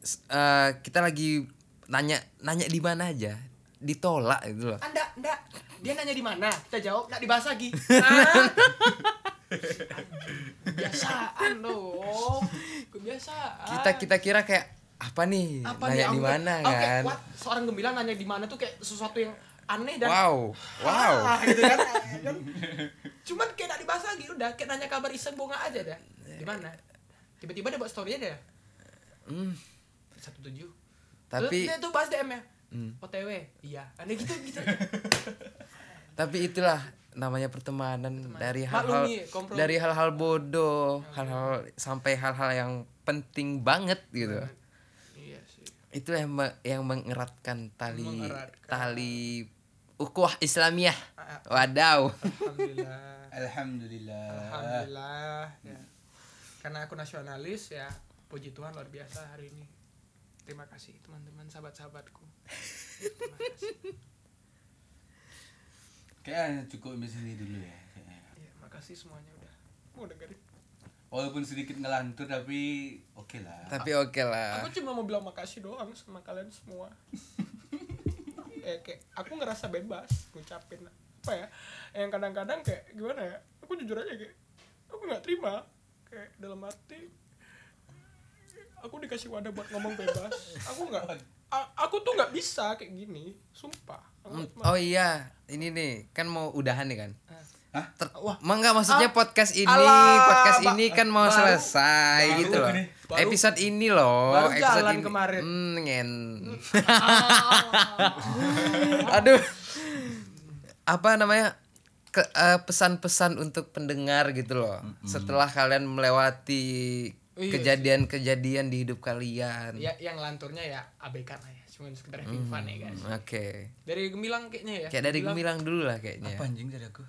S2: s- eh, kita lagi nanya nanya di mana aja ditolak gitu loh
S3: anda anda Ah, dia nanya di mana kita jawab nggak dibahas lagi Ah. kebiasaan dong kebiasaan
S2: kita kita kira kayak apa nih
S3: Ah. apa nih
S2: Iya, nanya
S3: aku
S2: di
S3: kayak-
S2: mana
S3: aku kayak,
S2: kan
S3: what? seorang gembira nanya di mana tuh kayak sesuatu yang aneh dan
S2: wow wow
S3: "Ah," gitu kan Dan cuman kayak gak dibahas lagi udah kayak nanya kabar iseng bonga aja dah
S2: Iya.
S3: di mana tiba-tiba dia buat story nya deh
S2: Hmm,
S3: satu tujuh
S2: tapi
S3: dia tuh bahas ya? DM nya
S2: Hmm.
S3: OTW iya aneh gitu gitu
S2: tapi itulah namanya pertemanan dari hal-hal
S3: Maklumi, kompromi.
S2: dari hal-hal bodoh hal-hal sampai hal-hal yang penting banget gitu
S3: iya sih
S2: itu yang me- yang mengeratkan tali
S3: Mengeratkan.
S2: tali ukhuwah Islamiyah
S3: Ah,
S2: wadaw
S3: alhamdulillah
S1: Alhamdulillah.
S3: alhamdulillah ya. karena aku nasionalis ya puji Tuhan luar biasa hari ini terima kasih teman-teman sahabat-sahabatku terima kasih
S1: Kayaknya cukup di sini dulu ya. kayaknya.
S3: Iya, makasih semuanya udah mau dengerin.
S1: Walaupun sedikit ngelantur tapi oke lah.
S2: tapi oke lah
S3: Aku cuma mau bilang makasih doang sama kalian semua. eh, kayak aku ngerasa bebas ngucapin apa ya yang kadang-kadang kayak gimana ya aku jujur aja kayak aku nggak terima kayak dalam arti aku dikasih wadah buat ngomong bebas aku nggak a- aku tuh nggak bisa kayak gini sumpah aku
S2: Hmm,
S3: cuma-
S2: Oh iya, ini nih kan mau udahan nih kan.
S1: Hah?
S2: Ter-
S3: Ah. Wah. Ah.
S2: Ma, enggak maksudnya podcast ini,
S3: Alah,
S2: podcast
S3: ba-
S2: ini kan mau
S3: baru-
S2: selesai
S1: baru
S2: gitu loh.
S1: ini,
S3: baru-
S2: episode ini loh,
S3: baru
S2: episode
S3: jalan
S2: ini.
S3: kemarin.
S2: Hmm, ngen.
S3: Ah.
S2: Aduh. Apa namanya? Ke- eh, pesan-pesan untuk pendengar gitu loh. Setelah kalian melewati
S3: Iya sih. Iya.
S2: kejadian-kejadian di hidup kalian.
S3: ya yang lanturnya ya abaikan aja cuma sekedar having fun ya guys
S2: Oke.
S3: dari gemilang kayaknya ya
S2: Kayak dari gemilang dulu lah kayaknya.
S1: Apa anjing dari aku?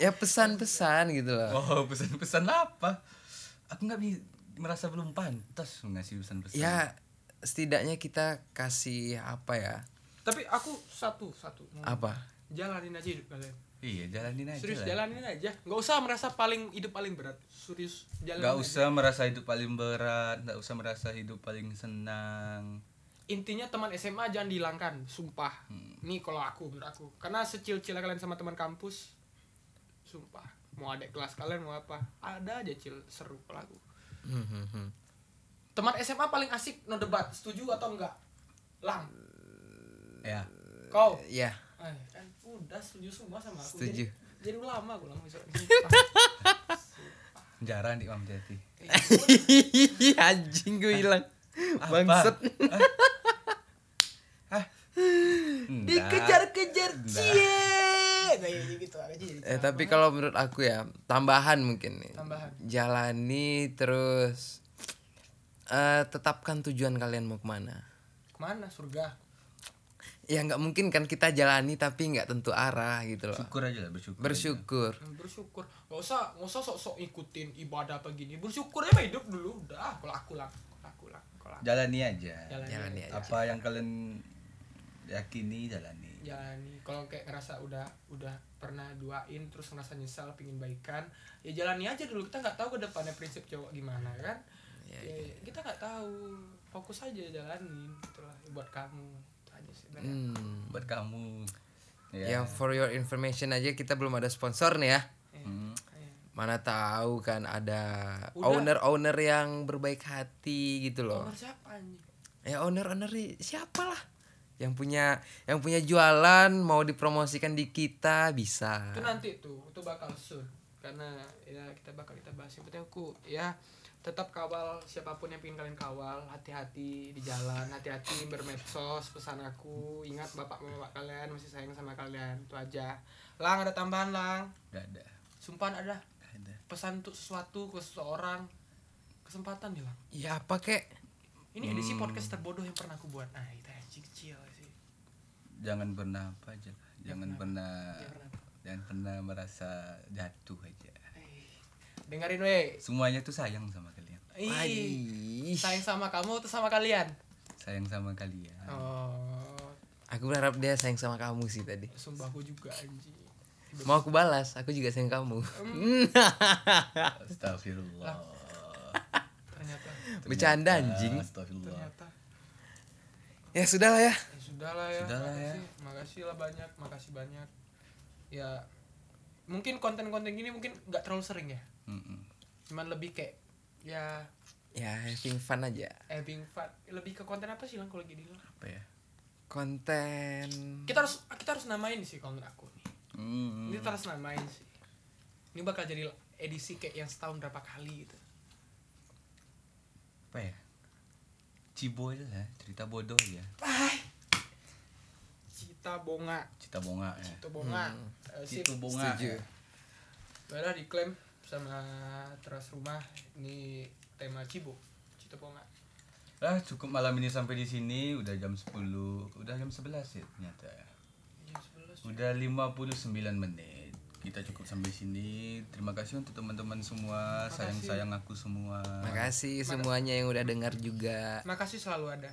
S2: Ya pesan-pesan gitu loh.
S1: Oh, pesan-pesan apa? Aku nggak bi- merasa belum pantas ngasih pesan-pesan.
S2: Ya setidaknya kita kasih apa ya?
S3: tapi aku satu satu mau-
S2: Apa?
S3: jalanin aja hidup kalian
S1: Iya,
S2: Eh,
S1: jalanin aja.
S3: serius
S1: lah.
S3: jalanin aja nggak usah merasa paling hidup paling berat serius jalanin
S1: Gak
S3: aja.
S1: usah merasa hidup paling berat, gak usah merasa hidup paling senang.
S3: intinya teman SMA jangan dihilangkan sumpah
S2: Hmm.
S3: ini kalau aku menurut aku karena secil-cil kalian sama teman kampus sumpah mau ada kelas kalian mau apa ada aja cil seru kalau aku
S2: Hmm, hmm, hmm.
S3: teman SMA paling asik no debat setuju atau enggak lang
S1: Ya.
S3: kau
S2: Ya.
S3: eh, kan udah setuju semua sama aku
S2: Setuju.
S3: jadi, jadi ulama aku lama besok
S1: Penjara di Imam Jati.
S2: Hihihi, Anjing gue hilang.
S1: Apa?
S2: Bangset.
S1: Hah? Hah? Ah. Enggak.
S3: dikejar-kejar cie kayak gitu aja jadi
S2: Eh tapi kalau menurut aku ya tambahan mungkin nih.
S3: Tambahan.
S2: Jalani terus eh tetapkan tujuan kalian mau kemana.
S3: kemana surga
S2: Ya nggak mungkin kan kita jalani tapi nggak tentu arah gitu loh.
S1: Syukur aja lah bersyukur.
S2: Bersyukur.
S3: Hmm, bersyukur nggak usah nggak usah sok-sok ikutin ibadah apa gini bersyukur aja hidup dulu udah kalau aku lah kalau aku lah kalau aku
S1: Jalani aja.
S3: jalani
S2: Jalani aja.
S1: Apa yang kalian yakini jalani.
S3: jalani kalau kayak ngerasa udah udah pernah doain terus ngerasa nyesal pingin baikan ya jalani aja dulu kita nggak tahu ke depannya prinsip cowok gimana kan
S2: Ya,
S1: Iya,
S3: ya, kita nggak tahu fokus aja jalanin gitulah buat kamu itu aja sih bener.
S2: Hmm.
S1: Buat kamu.
S2: Ya for your information aja kita belum ada sponsor nih ya.
S3: Ya,
S1: Hmm.
S3: ya.
S2: Mana tahu kan ada
S3: Udah.
S2: owner-owner yang berbaik hati gitu loh.
S3: Nomor siapa anjing
S2: Ya owner-owner i- siapa lah yang punya yang punya jualan mau dipromosikan di kita bisa.
S3: itu nanti tuh itu bakal soon karena ya kita bakal kita bahas yang penting aku ya tetap kawal siapapun yang pingin kalian kawal hati-hati di jalan hati-hati bermedsos pesan aku ingat bapak bapak kalian masih sayang sama kalian itu aja lang ada tambahan lang
S1: Gak ada.
S3: sumpah ada
S1: Gak ada.
S3: pesan untuk sesuatu ke seseorang kesempatan nih lang
S2: Ya apa kek?
S3: ini edisi podcast terbodoh yang pernah aku buat nah itu anjing kecil sih
S1: Jangan pernah apa aja. lah. Jangan pernah
S3: Jangan pernah.
S1: jangan pernah merasa jatuh aja.
S3: Eh, dengerin weh
S1: Semuanya tuh sayang sama kalian.
S3: Ih,
S2: Aih.
S3: sayang sama kamu atau sama kalian
S1: Sayang sama kalian.
S3: oh
S2: Aku berharap dia sayang sama kamu sih tadi.
S3: Sumpah aku juga anjing.
S2: Mau aku balas, aku juga sayang kamu.
S1: Astagfirullah.
S3: Ternyata
S2: Bercanda anjing.
S1: Astagfirullah.
S3: ternyata
S2: Ya sudahlah ya.
S3: ya sudah lah ya.
S1: Sudahlah ya.
S3: makasih, makasih lah banyak, makasih banyak. Ya mungkin konten-konten gini mungkin nggak terlalu sering ya.
S1: Mm-mm.
S3: Cuman lebih kayak ya
S2: Ya having fun aja.
S3: having fun. Lebih ke konten apa sih lang kalau gini Lang?
S1: Apa ya?
S2: Konten.
S3: Kita harus kita harus namain sih kalau menurut aku nih.
S1: Mm.
S2: Hmm.
S3: Ini kita harus namain sih. Ini bakal jadi edisi kayak yang setahun berapa kali gitu.
S1: Apa ya? Cibo aja lah, cerita bodoh ya.
S3: Cita bonga,
S1: Cita bonga ya.
S3: cita bonga. Eh, sip.
S1: Cita bonga.
S2: Setuju.
S1: ya.
S3: Udah diklaim sama teras rumah ini tema Cibo. Cito Ponga.
S1: Ah, cukup malam ini sampai di sini, udah jam 10, udah jam 11 ya ternyata.
S2: Iya,
S3: Jam 11.
S1: Udah 59 menit. Kita cukup sampai sini. Terima kasih untuk teman-teman semua, sayang-sayang aku semua.
S2: Makasih semuanya yang udah dengar juga.
S3: Makasih selalu ada.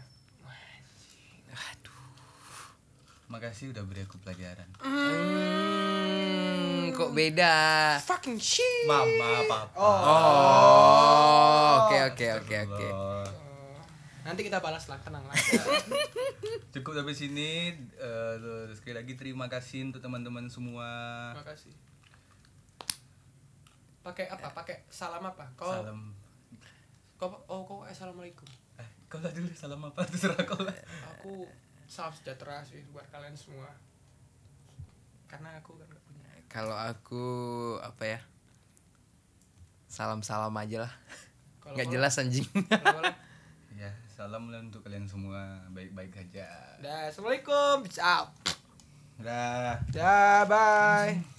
S1: Makasih udah beri aku pelajaran.
S2: Mm. Hmm, kok beda?
S3: Fucking shit.
S1: Mama, papa.
S2: Oh, oke oke oke oke.
S1: Allah.
S3: Oh, Nanti kita balas lah, tenang lah.
S1: Cukup sampai sini. Eh, sekali lagi terima kasih untuk teman-teman semua.
S3: Makasih. Pakai
S2: Eh.
S3: apa? Pakai salam apa? Kau
S1: Salam.
S3: kau oh kau assalamualaikum.
S1: Eh, kau lah dulu salam apa terserah kau lah.
S3: Aku salam sejahtera sih buat kalian semua. Karena aku kan gak punya.
S2: Kalau aku apa ya? Salam-salam aja lah.
S3: Kalau
S2: Nggak
S3: kau-
S2: jelas anjing.
S3: kalau kau-
S1: Ya, salam lah untuk kalian semua. Baik-baik aja.
S3: Dah, assalamualaikum. Ciao.
S1: Dah.
S3: Dah, bye.